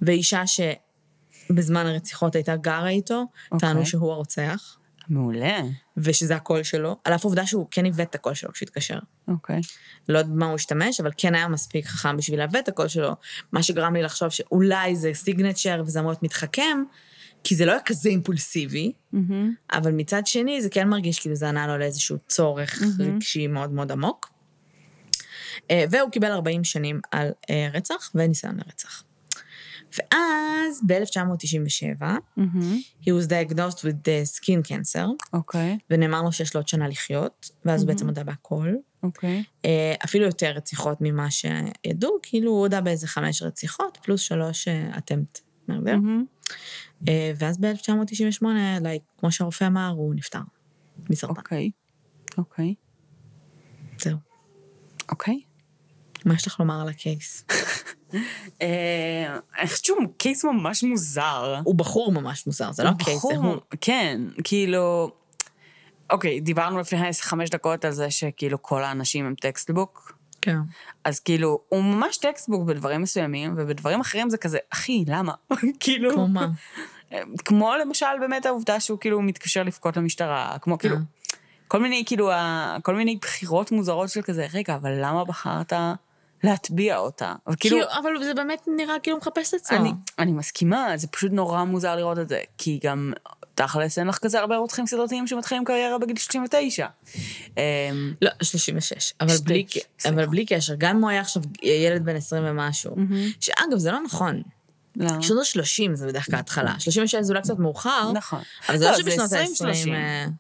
S2: ואישה שבזמן הרציחות הייתה גרה איתו,
S1: אוקיי.
S2: טענו שהוא הרוצח,
S1: מעולה.
S2: ושזה הקול שלו, על אף העובדה שהוא כן איבד את הקול שלו כשהתקשר.
S1: אוקיי.
S2: לא יודעת במה הוא השתמש, אבל כן היה מספיק חכם בשביל להביא את הקול שלו, מה שגרם לי לחשוב שאולי זה סיגנצ'ר וזה אמור להיות מתחכם, כי זה לא היה כזה אימפולסיבי,
S1: מהמם.
S2: אבל מצד שני זה כן מרגיש כאילו זה ענה לו לאיזשהו צורך רגשי מאוד מאוד עמוק. אה, והוא קיבל 40 שנים על אה, רצח וניסיון לרצח. ואז ב-1997,
S1: מהמם.
S2: he was diagnosed with the skin cancer,
S1: אוקיי.
S2: ונאמר לו שיש לו עוד שנה לחיות, ואז הוא בעצם הודה בהכל.
S1: אוקיי.
S2: אה, אפילו יותר רציחות ממה שידעו, כאילו הוא הודה באיזה חמש רציחות, פלוס שלוש אטמפט מרדר. אה,
S1: מהמם. Mm-hmm.
S2: ואז ב-1998, like, כמו שהרופא אמר, הוא נפטר מסרטן.
S1: אוקיי. אוקיי.
S2: זהו.
S1: אוקיי.
S2: מה יש לך לומר על הקייס?
S1: אה, אני חושבת שהוא קייס ממש מוזר.
S2: הוא בחור ממש מוזר, זה לא קייס, זה הוא.
S1: בחור, כן, כאילו... אוקיי, דיברנו לפני איזה חמש דקות על זה שכאילו כל האנשים הם טקסטבוק.
S2: כן.
S1: אז כאילו, הוא ממש טקסטבוק בדברים מסוימים, ובדברים אחרים זה כזה, אחי, למה? כאילו...
S2: כמו מה?
S1: כמו למשל באמת העובדה שהוא כאילו מתקשר לבכות למשטרה, כמו כאילו...
S2: אה.
S1: כל מיני כאילו, ה- כל מיני בחירות מוזרות של כזה, רגע, אבל למה בחרת להטביע אותה? אבל
S2: כאילו,
S1: כאילו,
S2: אבל זה באמת נראה כאילו הוא מחפש את עצמו.
S1: אני, אני מסכימה, זה פשוט נורא מוזר לראות את זה, כי גם תכלס אין לך כזה הרבה רוצחים סדרתיים שמתחילים קריירה בגיל 39. אמ,
S2: לא, 36, אבל,
S1: שתי,
S2: בלי, ק-
S1: סליחה.
S2: אבל בלי קשר, גם אם הוא היה עכשיו ילד בן 20 ומשהו,
S1: Mm-hmm.
S2: שאגב, זה לא נכון.
S1: למה?
S2: שנות ה-30 זה בדרך כלל ההתחלה, 36 זה אולי קצת מאוחר,
S1: נכון.
S2: אבל זה לא
S1: לא,
S2: שבשנות
S1: זה
S2: 20-30...
S1: 20-30.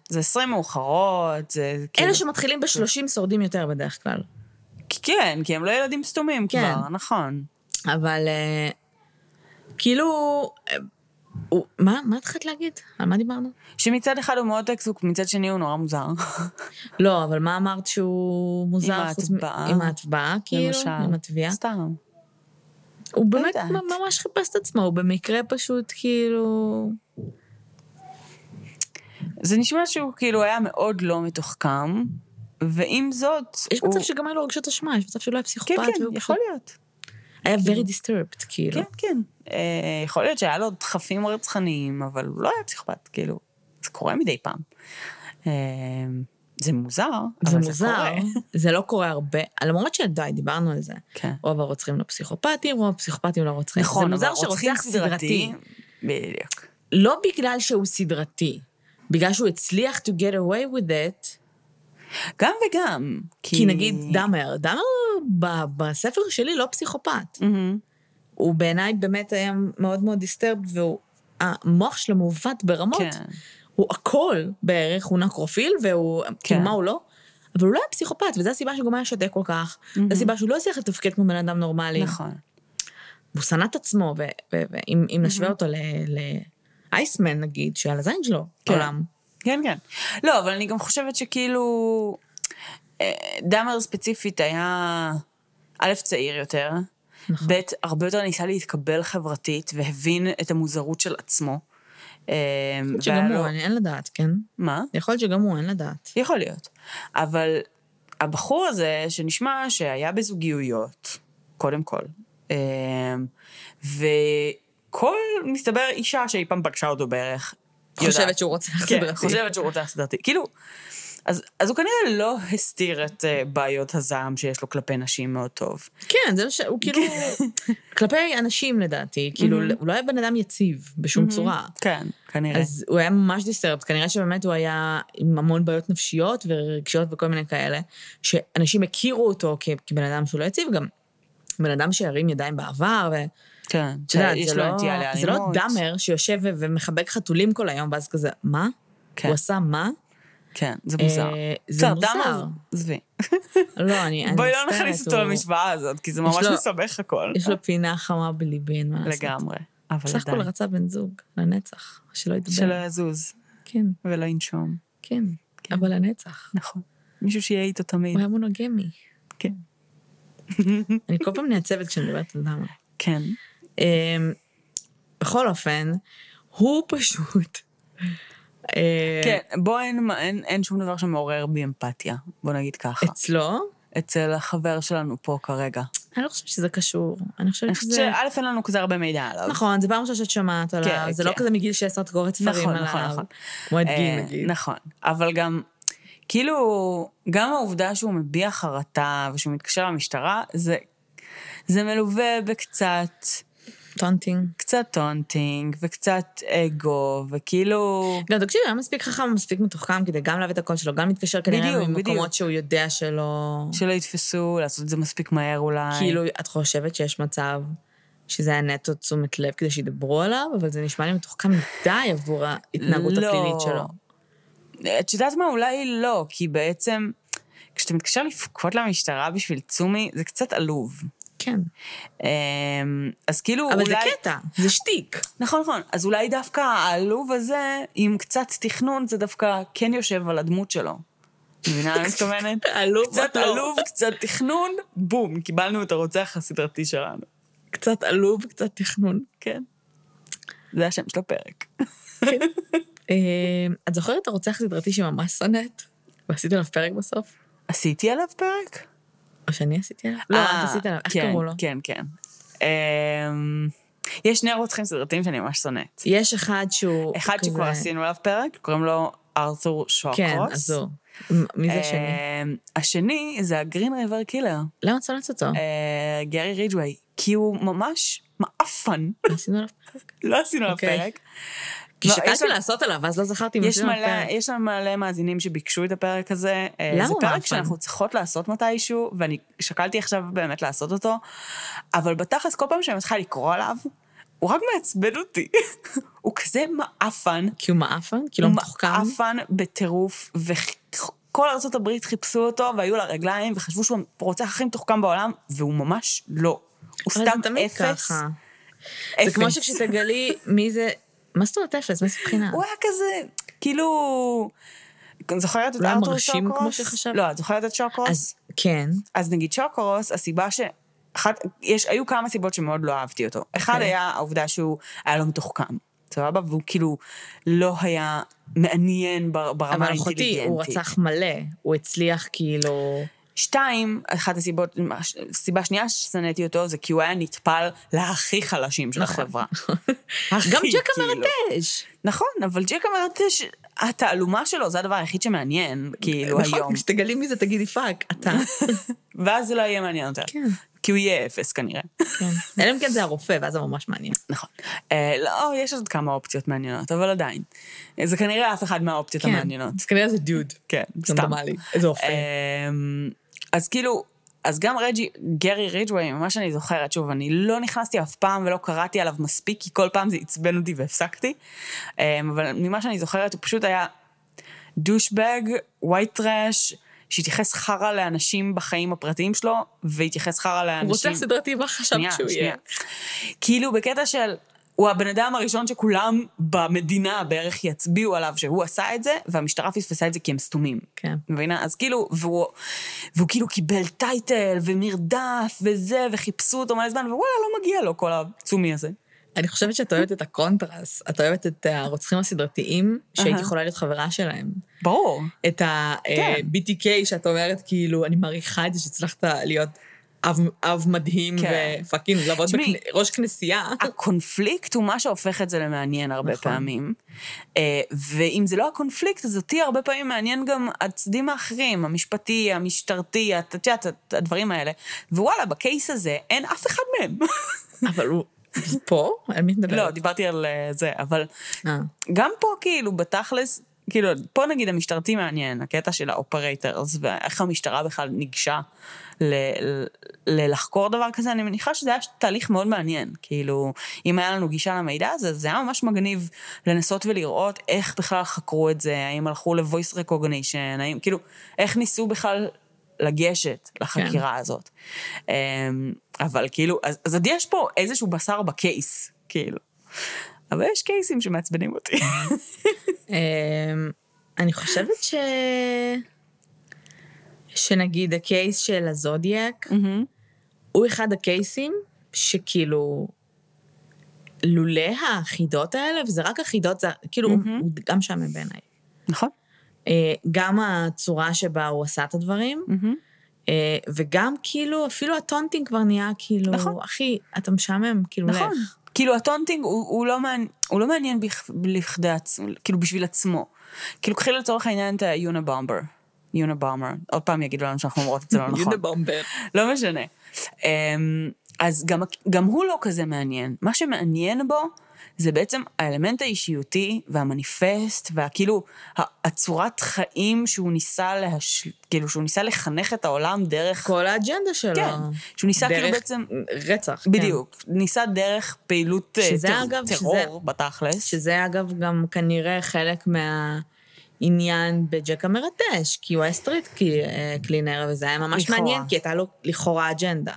S1: זה 20 מאוחרות, זה כאילו...
S2: אלה שמתחילים ב-30 שורדים יותר בדרך כלל.
S1: כן, כי הם לא ילדים סתומים
S2: כן.
S1: כבר, נכון.
S2: אבל אה, כאילו, אה, הוא- מה מה התחלת להגיד? על מה דיברנו?
S1: שמצד אחד הוא מאוד דקסוק, מצד שני הוא נורא מוזר.
S2: לא, אבל מה אמרת שהוא מוזר?
S1: עם
S2: חוץ מ-
S1: ההטבעה.
S2: עם ההטבעה, כאילו?
S1: למשל.
S2: עם התביעה.
S1: סתם.
S2: הוא באמת
S1: יודעת.
S2: ממש חיפש את עצמו, הוא במקרה פשוט כאילו...
S1: זה נשמע שהוא כאילו היה מאוד לא מתוחכם, ועם זאת,
S2: יש
S1: הוא...
S2: מצב שגם היה לו רגשות אשמה, יש מצב שהוא לא היה פסיכופת.
S1: כן, כן,
S2: והוא
S1: יכול
S2: פשוט
S1: להיות.
S2: היה very disturbed, כאילו.
S1: כן, כן. אה, יכול להיות שהיה לו דחפים רצחניים, אבל הוא לא היה פסיכופת, כאילו, זה קורה מדי פעם. אה, זה מוזר,
S2: זה
S1: אבל זה
S2: מוזר,
S1: קורה.
S2: זה לא קורה הרבה, למרות שדי, דיברנו על זה.
S1: כן.
S2: רוב הרוצחים לא פסיכופטים, רוב הפסיכופטים לא רוצחים.
S1: נכון,
S2: זה
S1: אבל
S2: מוזר
S1: רוצחים
S2: שרוצח סדרתי,
S1: סדרתיים- בדיוק.
S2: לא בגלל שהוא סדרתי, בגלל שהוא הצליח to get away with it,
S1: גם וגם.
S2: כי נגיד דאמר, דאמר ב- בספר שלי לא פסיכופת.
S1: מהמם.
S2: הוא בעיניי באמת היה מאוד מאוד דיסטרבד, והוא... המוח שלו מעוות ברמות.
S1: כן.
S2: הוא הכל בערך, הוא נקרופיל, והוא, כן. כאילו מה הוא לא? אבל הוא לא היה פסיכופת, וזו הסיבה שהוא גם היה שותק כל כך. Mm-hmm. זו הסיבה שהוא לא הצליח לתפקד כמו בן אדם נורמלי.
S1: נכון.
S2: הוא שנא את עצמו, ואם ו- ו- אם- אם נשווה אותו לאייסמן נגיד, שעל הזין שלו,
S1: כן.
S2: העולם.
S1: כן, כן. לא, אבל אני גם חושבת שכאילו... אה, דאמר ספציפית היה, א', צעיר יותר,
S2: נכון.
S1: ב', הרבה יותר ניסה להתקבל חברתית והבין את המוזרות של עצמו. אה, והיה
S2: שגם
S1: לו-
S2: הוא, אני- אין לדעת, כן?
S1: מה?
S2: יכול להיות שגם הוא, אין לדעת.
S1: יכול להיות. אבל הבחור הזה, שנשמע שהיה בזוגיויות, קודם כל, אמ, וכל, מסתבר, אישה שאי פעם פגשה אותו בערך, יודעת.
S2: חושבת שהוא רוצח
S1: כן,
S2: סדרתי.
S1: חושבת שהוא רוצח סדרתי. כאילו, אז, אז הוא כנראה לא הסתיר את אה, בעיות הזעם שיש לו כלפי נשים מאוד טוב.
S2: כן, זה מה ש... הוא כאילו...
S1: כן.
S2: כלפי אנשים, לדעתי. כאילו, הוא לא היה בן אדם יציב בשום צורה.
S1: כן, כנראה.
S2: אז הוא היה ממש דיסטרבט, כנראה שבאמת הוא היה עם המון בעיות נפשיות ורגשיות וכל מיני כאלה, שאנשים הכירו אותו כ- כבן אדם שהוא לא יציב, גם בן אדם שהרים ידיים בעבר, ואת
S1: כן,
S2: יודעת,
S1: יש
S2: זה
S1: לו
S2: לא-
S1: נטייה לאלימות.
S2: זה לא דאמר שיושב ו- ומחבק חתולים כל היום, ואז כזה, מה?
S1: כן.
S2: הוא עשה מה?
S1: כן, זה מוזר.
S2: אה, זה
S1: בסדר,
S2: מוזר.
S1: דאמר, עזבי.
S2: לא, אני אני
S1: בואי לא
S2: מצטערת,
S1: נכניס
S2: הוא-
S1: אותו למשוואה הזאת, כי זה ממש
S2: לו-
S1: מסבך הכל.
S2: יש לו פינה חמה בליבי, אין מה לעשות.
S1: לגמרי. אבל
S2: בסך הכל
S1: עדיין.
S2: רצה בן זוג, לנצח, שלא
S1: שלא
S2: ידבר.
S1: יזוז
S2: כן,
S1: ולא ינשום.
S2: כן, אבל לנצח.
S1: נכון. מישהו שיהיה איתו תמיד.
S2: הוא היה מונוגמי.
S1: כן.
S2: אני כל פעם נעצבת כשאני מדברת על למה.
S1: כן.
S2: אמ, בכל אופן, הוא פשוט... אה,
S1: כן, בוא אין- אין- אין שום דבר שמעורר בי אמפתיה. בוא נגיד ככה.
S2: אצלו,
S1: אצל החבר שלנו פה כרגע.
S2: אני לא חושבת שזה קשור. אני חושבת
S1: אני חושבת
S2: שזה...
S1: שא' אין לנו כזה הרבה מידע עליו.
S2: נכון, זה פעם ראשונה שאת שומעת עליו,
S1: כן,
S2: זה לא
S1: כן.
S2: כזה מגיל 16 את קוראת ספרים
S1: נכון,
S2: עליו.
S1: נכון, נכון.
S2: כמו את גיל,
S1: אה,
S2: נגיד.
S1: נכון. אבל גם, כאילו, גם העובדה שהוא מביע חרטה ושהוא מתקשר למשטרה, זה- זה מלווה בקצת...
S2: טונטינג.
S1: קצת טונטינג וקצת אגו, וכאילו...
S2: גם תקשיבי, הוא היה מספיק חכם, מספיק מתוחכם כדי גם להביא את הקול שלו, גם להתקשר כנראה
S1: בדיוק, בדיוק.
S2: ממקומות שהוא יודע שלא...
S1: שלא יתפסו, לעשות את זה מספיק מהר אולי.
S2: כאילו, את חושבת שיש מצב שזה היה נטו תשומת לב כדי שידברו עליו, אבל זה נשמע לי מתוחכם מדי עבור ההתנהגות
S1: לא.
S2: הפלילית שלו.
S1: את יודעת מה? אולי לא, כי בעצם, כשאתה מתקשר לבכות למשטרה בשביל צומי, זה קצת עלוב.
S2: כן.
S1: אמ, אז כאילו,
S2: אבל זה
S1: אולי...
S2: קטע, זה שטיק.
S1: נכון, נכון. אז אולי דווקא העלוב הזה, עם קצת תכנון, זה דווקא כן יושב על הדמות שלו. מבינה מה אני מתכוונת?
S2: עלוב,
S1: קצת
S2: לא.
S1: עלוב, קצת תכנון, בום, קיבלנו את הרוצח הסדרתי שלנו.
S2: קצת עלוב, קצת תכנון.
S1: כן. זה השם של הפרק.
S2: אה, את זוכרת את הרוצח הסדרתי שממש שנאת? ועשית עליו פרק בסוף?
S1: עשיתי עליו פרק?
S2: או שאני עשיתי עליו? לא,
S1: אה,
S2: את עשית עליו, איך
S1: כן,
S2: קראו לו?
S1: כן, כן. אמ, יש שני רוצחים סדרתיים שאני ממש שונאת.
S2: יש אחד שהוא...
S1: אחד
S2: כזה-
S1: שכבר עשינו עליו פרק, קוראים לו ארתור שוקרוס.
S2: כן, אז הוא. מ- מי זה שני?
S1: אמ, השני זה הגרין ריבר קילר,
S2: למה את שונאת אותו?
S1: אה, גרי רידג'ווי, כי הוא ממש מעפן.
S2: עשינו עליו פרק.
S1: לא עשינו עליו
S2: אוקיי.
S1: פרק.
S2: כי
S1: לא, יש
S2: שקלתי
S1: לו-
S2: לעשות עליו, אז לא זכרתי אם
S1: יש
S2: עשינו עליו
S1: מלא,
S2: פרק.
S1: יש לנו מלא מאזינים שביקשו את הפרק הזה. אה,
S2: למה
S1: זה
S2: הוא
S1: פרק
S2: מעפן?
S1: שאנחנו צריכות לעשות מתישהו, ואני שקלתי עכשיו באמת לעשות אותו, אבל בתכלס, כל פעם שאני מתחילה לקרוא עליו, הוא רק מעצבן אותי. הוא כזה מעפן.
S2: כי הוא מעפן? כי לא
S1: הוא
S2: מתוחכם?
S1: מעפן בטירוף, וכל ארצות הברית חיפשו אותו, והיו לה רגליים, וחשבו שהוא הרוצח הכי מתוחכם בעולם, והוא ממש לא. הוא
S2: אבל זה
S1: סתם
S2: תמיד
S1: אפס.
S2: ככה.
S1: אפס.
S2: זה כמו שכשתגלי מי זה מה זאת אומרת אפס? מאיזה בחינה?
S1: הוא היה כזה, כאילו... זוכרת את
S2: לא היה
S1: ארתור שוקרוס?
S2: מרשים כמו שחשבת?
S1: לא, את זוכרת את שוקרוס?
S2: אז כן.
S1: אז נגיד שוקרוס, הסיבה ש... אחת, יש, היו כמה סיבות שמאוד לא אהבתי אותו. אחד
S2: אוקיי.
S1: היה העובדה שהוא היה לא מתוחכם, סבבה? והוא כאילו לא היה מעניין בר- ברמה
S2: אבל אחותי,
S1: האינטליגנטית.
S2: הוא רצח מלא. הוא הצליח כאילו...
S1: שתיים, אחת הסיבות, סיבה שנייה ששנאתי אותו, זה כי הוא היה נטפל להכי חלשים של
S2: נכון.
S1: החברה.
S2: גם
S1: הכי,
S2: ג'ק
S1: כאילו.
S2: המרטש.
S1: נכון, אבל ג'ק המרטש, התעלומה שלו זה הדבר היחיד שמעניין, כאילו, היום.
S2: נכון, כשתגלי מי זה תגידי פאק, אתה.
S1: ואז זה לא יהיה מעניין יותר.
S2: כן,
S1: כי הוא יהיה אפס כנראה.
S2: כן. אלא אם כן זה הרופא, ואז זה ממש מעניין.
S1: נכון. אה, לא, יש עוד כמה אופציות מעניינות, אבל עדיין. אה, זה כנראה אף אחד
S2: כן.
S1: מהאופציות המעניינות.
S2: אז כנראה זה דוד.
S1: כן, סתם.
S2: רנדומלי. איזה אופן.
S1: אמ, אז כאילו, אז גם רג'י, גרי רידווי, ממה שאני זוכרת, שוב, אני לא נכנסתי אף פעם ולא קראתי עליו מספיק, כי כל פעם זה עצבן אותי והפסקתי. אמ, אבל ממה שאני זוכרת, הוא פשוט היה דושבג, ווייט טראש, שהתייחס חרא לאנשים בחיים הפרטיים שלו, והתייחס חרא לאנשים...
S2: הוא רוצח סדרתי, מה חשבת
S1: שנייה,
S2: שהוא
S1: שנייה.
S2: יהיה?
S1: כאילו, בקטע של... הוא הבן אדם הראשון שכולם במדינה בערך יצביעו עליו שהוא עשה את זה, והמשטרה פספסה את זה כי הם סתומים.
S2: כן.
S1: מבינה? אז כאילו, והוא, והוא כאילו קיבל טייטל ומרדף וזה, וחיפשו אותו מלא זמן, ווואלה, לא מגיע לו כל הצומי הזה.
S2: אני חושבת שאת אוהבת את הקונטרס, את אוהבת את אה, הרוצחים הסדרתיים, שהיית
S1: אהה.
S2: יכולה להיות חברה שלהם.
S1: ברור.
S2: את אה, כן. ה-BTK שאת אומרת, כאילו, אני מעריכה את זה שהצלחת להיות אב, אב מדהים
S1: כן.
S2: ופאקינג לעבוד
S1: תשמעי,
S2: בראש כנסייה.
S1: הקונפליקט הוא מה שהופך את זה למעניין הרבה
S2: נכון.
S1: פעמים. אה, ואם זה לא הקונפליקט, אז אותי הרבה פעמים מעניין גם הצדדים האחרים, המשפטי, המשטרתי, את את יודעת, הדברים האלה. ווואלה, בקייס הזה אין אף אחד מהם.
S2: אבל הוא פה? על מי את מדברת?
S1: לא, דיברתי על אה, זה, אבל
S2: אה,
S1: גם פה כאילו בתכלס, כאילו פה נגיד המשטרתי מעניין, הקטע של האופרטורס, ואיך המשטרה בכלל ניגשה ל- ל- ללחקור דבר כזה, אני מניחה שזה היה תהליך מאוד מעניין. כאילו, אם היה לנו גישה למידע הזה, זה היה ממש מגניב לנסות ולראות איך בכלל חקרו את זה, האם הלכו ל-voice recognition, האם, כאילו, איך ניסו בכלל לגשת לחקירה כן. הזאת. אמ, אבל כאילו, אז, אז עוד יש פה איזשהו בשר בקייס, כאילו. אבל יש קייסים שמעצבנים אותי.
S2: אמ, אני חושבת ש... שנגיד הקייס של הזודיאק,
S1: מהמם.
S2: הוא אחד הקייסים שכאילו... לולא החידות האלה, וזה רק החידות, זה כאילו, הוא-
S1: מהמם.
S2: הוא גם שם בעיניי.
S1: נכון.
S2: אה, גם הצורה שבה הוא עשה את הדברים, אה, וגם כאילו, אפילו הטונטינג כבר נהיה כאילו,
S1: נכון.
S2: אחי, אתה משעמם, כאילו,
S1: נכון.
S2: לך.
S1: כאילו הטונטינג הוא, הוא, לא, מעניין, הוא לא מעניין בכ, לכדי עצמו, כאילו בשביל עצמו. כאילו קחי לצורך העניין את היונבומבר. יונבומבר. עוד פעם יגידו לנו שאנחנו אומרות את זה לא נכון.
S2: בומבר.
S1: לא משנה. אמ, אז גם, גם הוא לא כזה מעניין. מה שמעניין בו זה בעצם האלמנט האישיותי והמניפסט, והכאילו ה- הצורת חיים שהוא ניסה להש... כאילו שהוא ניסה לחנך את העולם דרך...
S2: כל האג'נדה שלו.
S1: כן. שהוא ניסה כאילו
S2: דרך
S1: בעצם...
S2: רצח. כן.
S1: בדיוק. ניסה דרך פעילות אה,
S2: שזה,
S1: טר-
S2: אגב,
S1: טרור בתכלס.
S2: שזה אגב גם כנראה חלק מהעניין בג'ק המרטש, כי הוא היה סטריט אה, קלינר, וזה היה ממש
S1: לכאורה.
S2: מעניין, כי הייתה לו לכאורה אג'נדה.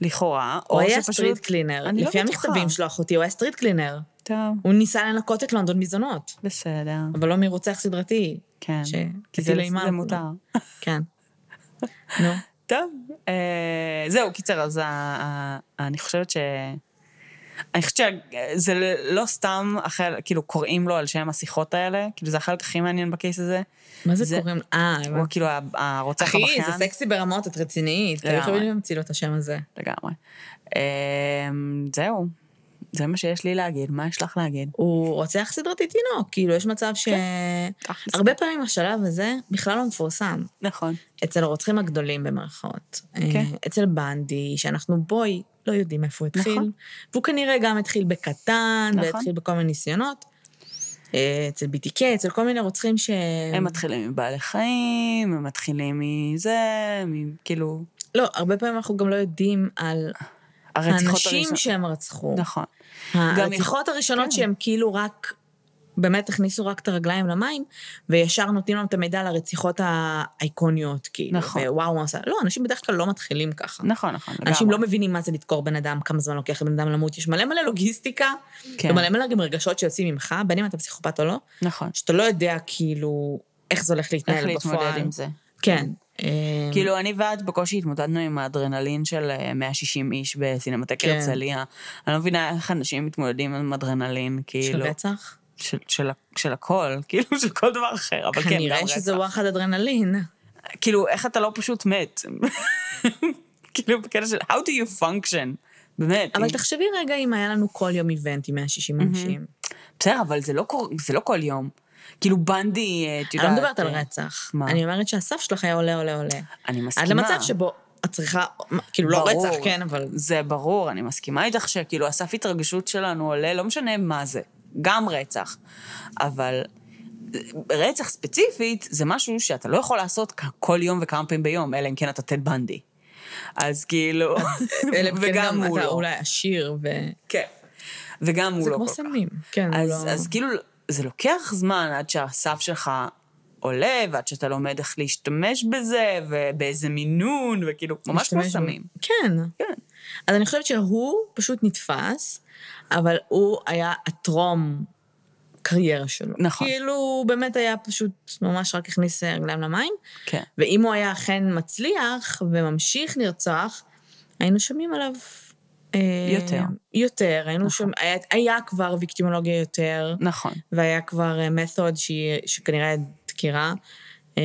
S1: לכאורה,
S2: הוא
S1: או
S2: היה
S1: שפשוט...
S2: סטריט קלינר.
S1: אני לא
S2: לפי
S1: בטוחה.
S2: המכתבים שלו, אחותי, הוא היה סטריט קלינר.
S1: טוב,
S2: הוא ניסה לנקות את לונדון מזונות,
S1: בסדר,
S2: אבל לא מרוצח סדרתי.
S1: כן.
S2: ש- כאילו
S1: כי
S2: הייתי
S1: זה
S2: לאימה.
S1: זה מותר.
S2: כן. נו.
S1: טוב, אה, זהו, קיצר, אז ה- ה- אני חושבת ש... אני חושבת שזה לא סתם, החל, כאילו, קוראים לו על שם השיחות האלה, כאילו, זה החלק הכי מעניין בקייס הזה.
S2: מה זה
S1: זה-
S2: קוראים? לו? אה,
S1: הוא
S2: הבנתי.
S1: כאילו ה- הרוצח
S2: אחי,
S1: הבכיין.
S2: זה סקסי ברמות, את רצינית.
S1: לגמרי.
S2: היו חייבים להמציא לו את השם הזה.
S1: לגמרי. אה, זהו, זה מה שיש לי להגיד, מה יש לך להגיד?
S2: הוא רוצח סדרתי תינוק, כאילו, יש מצב ש...
S1: אחלה.
S2: הרבה פעמים השלב הזה בכלל לא מפורסם.
S1: נכון.
S2: אצל הרוצחים הגדולים במרכאות.
S1: כן.
S2: אה, אצל בנדי, שאנחנו בואי, לא יודעים איפה הוא התחיל.
S1: נכון.
S2: והוא כנראה גם התחיל בקטן,
S1: נכון.
S2: והתחיל בכל מיני ניסיונות. אה, אצל BTK, אצל כל מיני רוצחים ש...
S1: הם מתחילים מבעלי חיים, הם מתחילים מזה, מ- כאילו,
S2: לא, הרבה פעמים אנחנו גם לא יודעים על
S1: הרציחות
S2: האנשים שהם רצחו.
S1: נכון. גם
S2: הרציחות הראשונות
S1: כן.
S2: שהן כאילו רק באמת הכניסו רק את הרגליים למים, וישר נותנים לנו את המידע על הרציחות האיקוניות, כאילו.
S1: נכון.
S2: ווואו, מה עשה. לא, אנשים בדרך כלל לא מתחילים ככה.
S1: נכון, נכון, לגמרי.
S2: אנשים לא מבינים מה זה לדקור בן אדם, כמה זמן לוקח לבן אדם למות, יש מלא מלא לוגיסטיקה,
S1: כן,
S2: ומלא מלא גם רגשות שיוצאים ממך, בין אם אתה פסיכופת או לא,
S1: נכון.
S2: שאתה לא יודע כאילו איך זה הולך
S1: איך
S2: להתנהל בפועל.
S1: להתמודד עם זה.
S2: כן. אה,
S1: כאילו, אני ואת בקושי התמודדנו עם האדרנלין של אה, 160 איש בסינמטק
S2: כן.
S1: הרצליה. אני לא מבינה איך אנשים מתמודדים עם אדרנלין,
S2: של
S1: כאילו,
S2: אה, רצח?
S1: של- של- של הכל, כאילו, של כל דבר אחר, אבל כן, גם
S2: כנראה
S1: רצח.
S2: שזה וואחד אדרנלין.
S1: כאילו, איך אתה לא פשוט מת? כאילו, בקטע של How do you function? באמת.
S2: אבל
S1: אם-
S2: תחשבי רגע אם היה לנו כל יום איבנט עם 160 אנשים.
S1: בסדר, אבל זה לא קור- זה לא כל יום. כאילו, בנדי, אה, את
S2: אני
S1: יודעת...
S2: לא מדברת על
S1: אה,
S2: רצח.
S1: מה?
S2: אני אומרת שהסף שלך היה עולה, עולה, עולה.
S1: אני מסכימה.
S2: עד למצב שבו את צריכה, כאילו לא
S1: ברור.
S2: רצח, כן, אבל...
S1: זה ברור, אני מסכימה איתך שכאילו הסף התרגשות שלנו עולה, לא משנה מה זה, גם רצח. אבל רצח ספציפית זה משהו שאתה לא יכול לעשות כ- כל יום וכמה פעמים ביום, אלא אם כן אתה טד בנדי. אז כאילו,
S2: אלא אם כן
S1: וגם
S2: גם
S1: הוא
S2: אתה
S1: לא.
S2: אולי עשיר, ו...
S1: כן. וגם הוא
S2: זה
S1: לא כל
S2: כמו
S1: כך.
S2: סמים. כן, הוא
S1: אז,
S2: לא...
S1: אז כאילו, זה לוקח זמן עד שהסף שלך עולה, ועד שאתה לומד איך להשתמש בזה, ובאיזה מינון, וכאילו, ממש כמו
S2: להשתמש בו.
S1: סמים.
S2: כן.
S1: כן.
S2: אז אני חושבת שהוא פשוט נתפס, אבל הוא היה הטרום קריירה שלו.
S1: נכון.
S2: כאילו, הוא באמת היה פשוט, ממש רק הכניס אה, רגליים למים,
S1: כן.
S2: ואם הוא היה אכן מצליח וממשיך לרצוח, היינו שומעים עליו... אה,
S1: יותר.
S2: יותר, היינו
S1: נכון.
S2: שומעים, היה, היה כבר ויקטימולוגיה יותר,
S1: נכון.
S2: והיה כבר מתוד שהיא, שכנראה היה דקירה, אמ,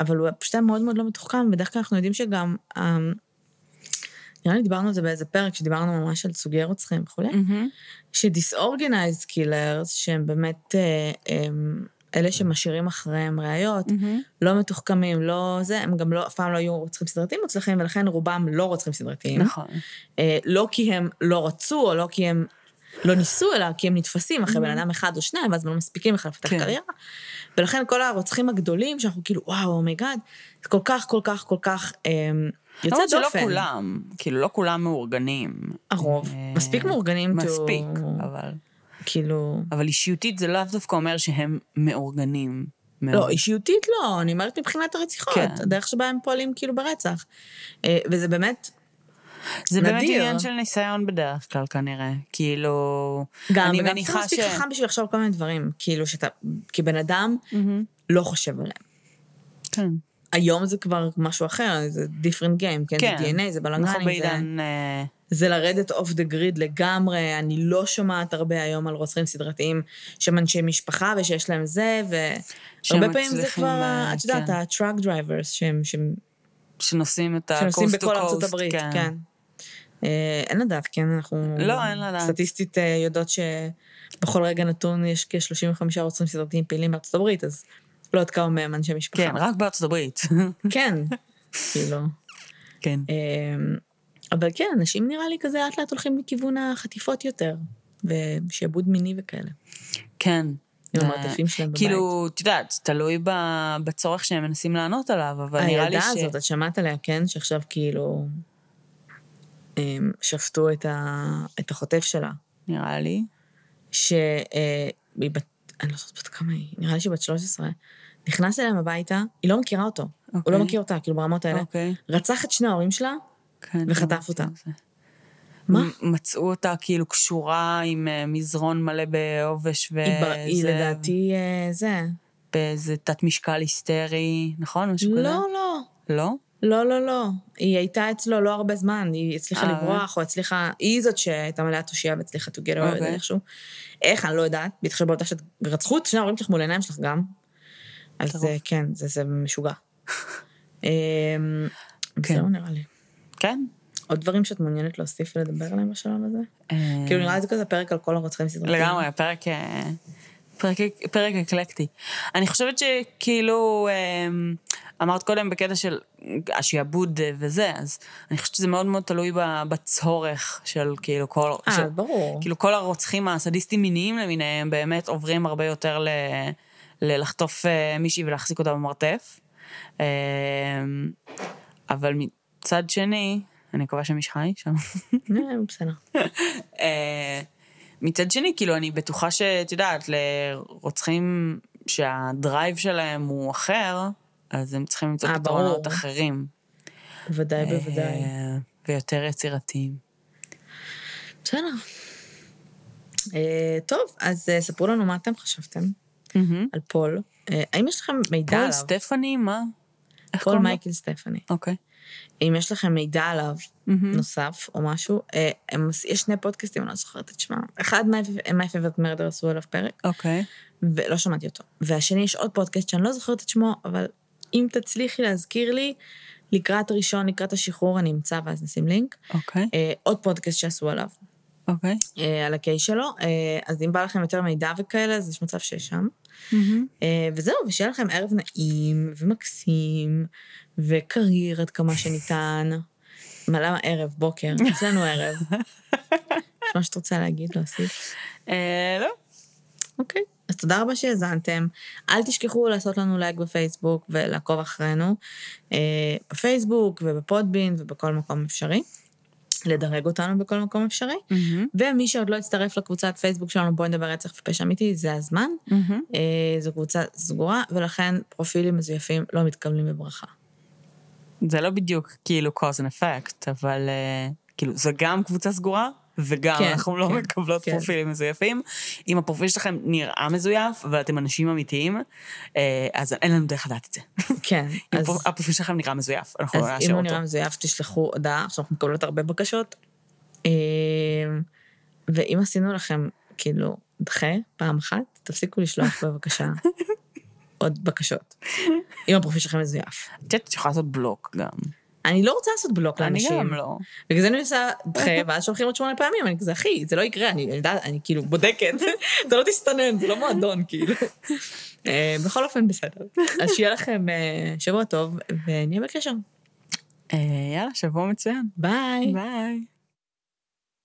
S2: אבל הוא פשוט היה מאוד מאוד לא מתוחכם, בדרך כלל אנחנו יודעים שגם, אמ, נראה לי דיברנו על זה באיזה פרק, שדיברנו ממש על סוגי רוצחים וכולי,
S1: מהמם.
S2: שדיסאורגנייזד קילרס, שהם באמת אה, אמ, אלה שמשאירים אחריהם ראיות,
S1: מהמם.
S2: לא מתוחכמים, לא זה, הם גם לא, אף פעם לא היו רוצחים סדרתיים מוצלחים, ולכן רובם לא רוצחים סדרתיים.
S1: נכון.
S2: אה, לא כי הם לא רצו, או לא כי הם לא ניסו, אלא כי הם נתפסים אחרי
S1: Mhm.
S2: בן אדם אחד או שניים, ואז הם לא מספיקים בכלל לפתח
S1: כן.
S2: קריירה. ולכן כל הרוצחים הגדולים, שאנחנו כאילו, וואו, אומייגאד, זה כל כך, כל כך, כל כך אה, יוצא
S1: למרות שלא
S2: דופן.
S1: כולם, כאילו, לא כולם מאורגנים.
S2: הרוב.
S1: אה,
S2: מספיק מאורגנים, to-
S1: מספיק, אבל...
S2: כאילו...
S1: אבל אישיותית זה לאו דווקא אומר שהם מאורגנים.
S2: לא,
S1: מאוד.
S2: אישיותית לא, אני אומרת מבחינת הרציחות,
S1: כן.
S2: הדרך שבה הם פועלים כאילו ברצח. אה, וזה באמת,
S1: זה באמת
S2: נדיר.
S1: עניין של ניסיון בדרך כלל, כנראה. כאילו...
S2: גם,
S1: אני
S2: וגם צריך
S1: מניחה
S2: מספיק
S1: ש-
S2: חכם בשביל לחשוב על כל מיני דברים, כאילו שאתה, כבן אדם, לא חושב עליהם.
S1: כן.
S2: היום זה כבר משהו אחר, זה different game, כן?
S1: כן.
S2: זה DNA, זה
S1: אנחנו
S2: בלנגנים, זה,
S1: בעידן... אה,
S2: זה לרדת אוף דה גריד לגמרי. אני לא שומעת הרבה היום על רוצחים סדרתיים שהם אנשי משפחה ושיש להם זה,
S1: שהם
S2: והרבה פעמים זה
S1: מצליחים,
S2: כבר,
S1: אה,
S2: ה- את יודעת,
S1: כן.
S2: הטראק דרייברס, שהם, שהם,
S1: שנוסעים את
S2: שנוסעים
S1: ה-coast to
S2: בכל ארצות
S1: coast,
S2: הברית, כן. אה, אין לדעת, כן? אנחנו...
S1: לא, אין לדעת.
S2: סטטיסטית אה, יודעות שבכל רגע נתון יש כ-35 רוצחים סדרתיים פעילים בארצות הברית, אז לא יודעת כמה מהם אנשי משפחה.
S1: כן, רק בארצות הברית.
S2: כן, כאילו.
S1: כן.
S2: אמ, אבל כן, אנשים נראה לי כזה לאט לאט הולכים לכיוון החטיפות יותר, ושעבוד מיני וכאלה,
S1: כן.
S2: עם
S1: זה-
S2: המרתפים שלהם בבית.
S1: כאילו, את יודעת, תלוי ב- בצורך שהם מנסים לענות עליו, אבל נראה לי
S2: הילדה
S1: ש...
S2: אה, הזאת, את שמעת עליה, כן? שעכשיו כאילו אמ, שפטו את ה- את החוטף שלה,
S1: נראה לי.
S2: שהיא אה, בת, אני לא יודעת בת כמה היא, נראה לי שהיא בת 13, נכנס אליהם הביתה, היא לא מכירה אותו, הוא
S1: אוקיי.
S2: לא מכיר אותה, כאילו ברמות האלה.
S1: אוקיי.
S2: רצח את שני ההורים שלה,
S1: כן,
S2: וחטף
S1: אמרתי
S2: אותה.
S1: את זה.
S2: מה?
S1: מ- מצאו אותה כאילו קשורה עם אה, מזרון מלא בעובש
S2: היא בר- היא
S1: וזה,
S2: לדעתי אה, זה.
S1: באיזה תת משקל היסטרי, נכון? משהו כזה?
S2: לא, לא.
S1: לא?
S2: לא, לא, לא. היא הייתה אצלו לא הרבה זמן, היא הצליחה
S1: אה,
S2: לברוח, או הצליחה... היא זאת שהייתה מלאה תושייה והצליחה to get over it
S1: אוקיי.
S2: איכשהו. איך, אני לא יודעת, בהתחשב בעובדה שאת רצחו את שני ההורים שלך מול העיניים שלך גם. אז
S1: טירוף.
S2: אה, כן, זה, זה משוגע. אמ,
S1: כן.
S2: זהו נראה לי.
S1: כן.
S2: עוד דברים שאת מעוניינת להוסיף ולדבר עליהם בשלב הזה?
S1: אה,
S2: כאילו, נראה לי זה כזה פרק על כל הרוצחים סדרתיים.
S1: לגמרי, פרק, אה, פרק, פרק אקלקטי. אני חושבת שכאילו, אמ, אמרת קודם בקטע של השעבוד אה, וזה, אז אני חושבת שזה מאוד מאוד תלוי ב- בצורך של כאילו כל... של,
S2: אה, ברור.
S1: כאילו כל הרוצחים הסדיסטים מיניים למיניהם באמת עוברים הרבה יותר ל... ללחטוף אה, מישהי ולהחזיק אותה במרתף. אה, אבל מצד כאילו- שני, אני מקווה שמיש חי שם.
S2: אה, בסדר.
S1: אה, מצד שני, כאילו, אני בטוחה שאת יודעת, לרוצחים שהדרייב שלהם הוא אחר, אז הם צריכים למצוא
S2: אה, ברור.
S1: פתרונות אחרים.
S2: בוודאי, בוודאי.
S1: אה, ויותר יצירתיים.
S2: בסדר. אה, טוב, אז אה, ספרו לנו מה אתם חשבתם על פול. אה, האם יש לכם מידע
S1: פול
S2: עליו?
S1: סטפני, מה? איך
S2: פול
S1: קוראים לו?
S2: מייקל סטפני.
S1: אוקיי.
S2: אם יש לכם מידע עליו
S1: מהמם.
S2: נוסף או משהו, אה, הם- יש שני פודקאסטים, אני לא זוכרת את שמם. אחד, My My Favorite Murder עשו עליו פרק,
S1: אוקיי.
S2: ולא שמעתי אותו. והשני, יש עוד פודקאסט שאני לא זוכרת את שמו, אבל אם תצליחי להזכיר לי, לקראת ראשון, לקראת השחרור, אני אמצא ואז נשים לינק.
S1: אוקיי.
S2: אה, עוד פודקאסט שעשו עליו.
S1: אוקיי.
S2: אה, על הקיי שלו, אה, אז אם בא לכם יותר מידע וכאלה, אז יש מצב שיש שם.
S1: מהמם.
S2: אה, וזהו, ושיהיה לכם ערב נעים ומקסים, וקריר עד כמה שניתן. מה, למה ערב? בוקר. אצלנו ערב. יש מה שאת רוצה להגיד, להוסיף.
S1: אה, לא.
S2: אוקיי. אז תודה רבה שהאזנתם. אל תשכחו לעשות לנו לייק בפייסבוק ולעקוב אחרינו. אה, בפייסבוק ובפודבין ובכל מקום אפשרי. לדרג אותנו בכל מקום אפשרי.
S1: מהמם.
S2: ומי שעוד לא הצטרף לקבוצת פייסבוק שלנו, בואי נדבר רצח ופשע אמיתי, זה הזמן.
S1: מהמם.
S2: אה, זו קבוצה סגורה, ולכן פרופילים מזויפים לא מתקבלים בברכה.
S1: זה לא בדיוק כאילו cause and effect, אבל אה, כאילו זה גם קבוצה סגורה, וגם
S2: כן,
S1: אנחנו לא
S2: כן,
S1: מקבלות
S2: כן.
S1: פרופילים מזויפים. אם הפרופיל שלכם נראה מזויף, אבל אתם אנשים אמיתיים, אה, אז אין לנו דרך לדעת את זה.
S2: כן,
S1: אם
S2: אז,
S1: הפרופיל- הפרופיל שלכם נראה מזויף, אנחנו
S2: אז
S1: לא
S2: אם
S1: נאשר
S2: הוא
S1: אותו.
S2: נראה מזויף, תשלחו הודעה, עכשיו אנחנו מקבלות הרבה בקשות. אה, ואם עשינו לכם, כאילו, דחה פעם אחת, תפסיקו לשלוח בבקשה עוד בקשות. אם הפרופיל שלכם מזויף.
S1: את יודעת, את יכולה לעשות בלוק גם.
S2: אני לא רוצה לעשות בלוק
S1: אני
S2: לאנשים.
S1: גם לא.
S2: בגלל זה אני עושה דחה, ואז שולחים עוד שמונה פעמים, אני כזה, אחי, זה לא יקרה, אני אני יודעת, אני כאילו בודקת, אתה לא תסתנן, זה לא מועדון, כאילו. אה, בכל אופן, בסדר. אז שיהיה לכם אה, שבוע טוב, ונהיה בקשר.
S1: אה, יאללה, שבוע מצוין.
S2: ביי.
S1: ביי.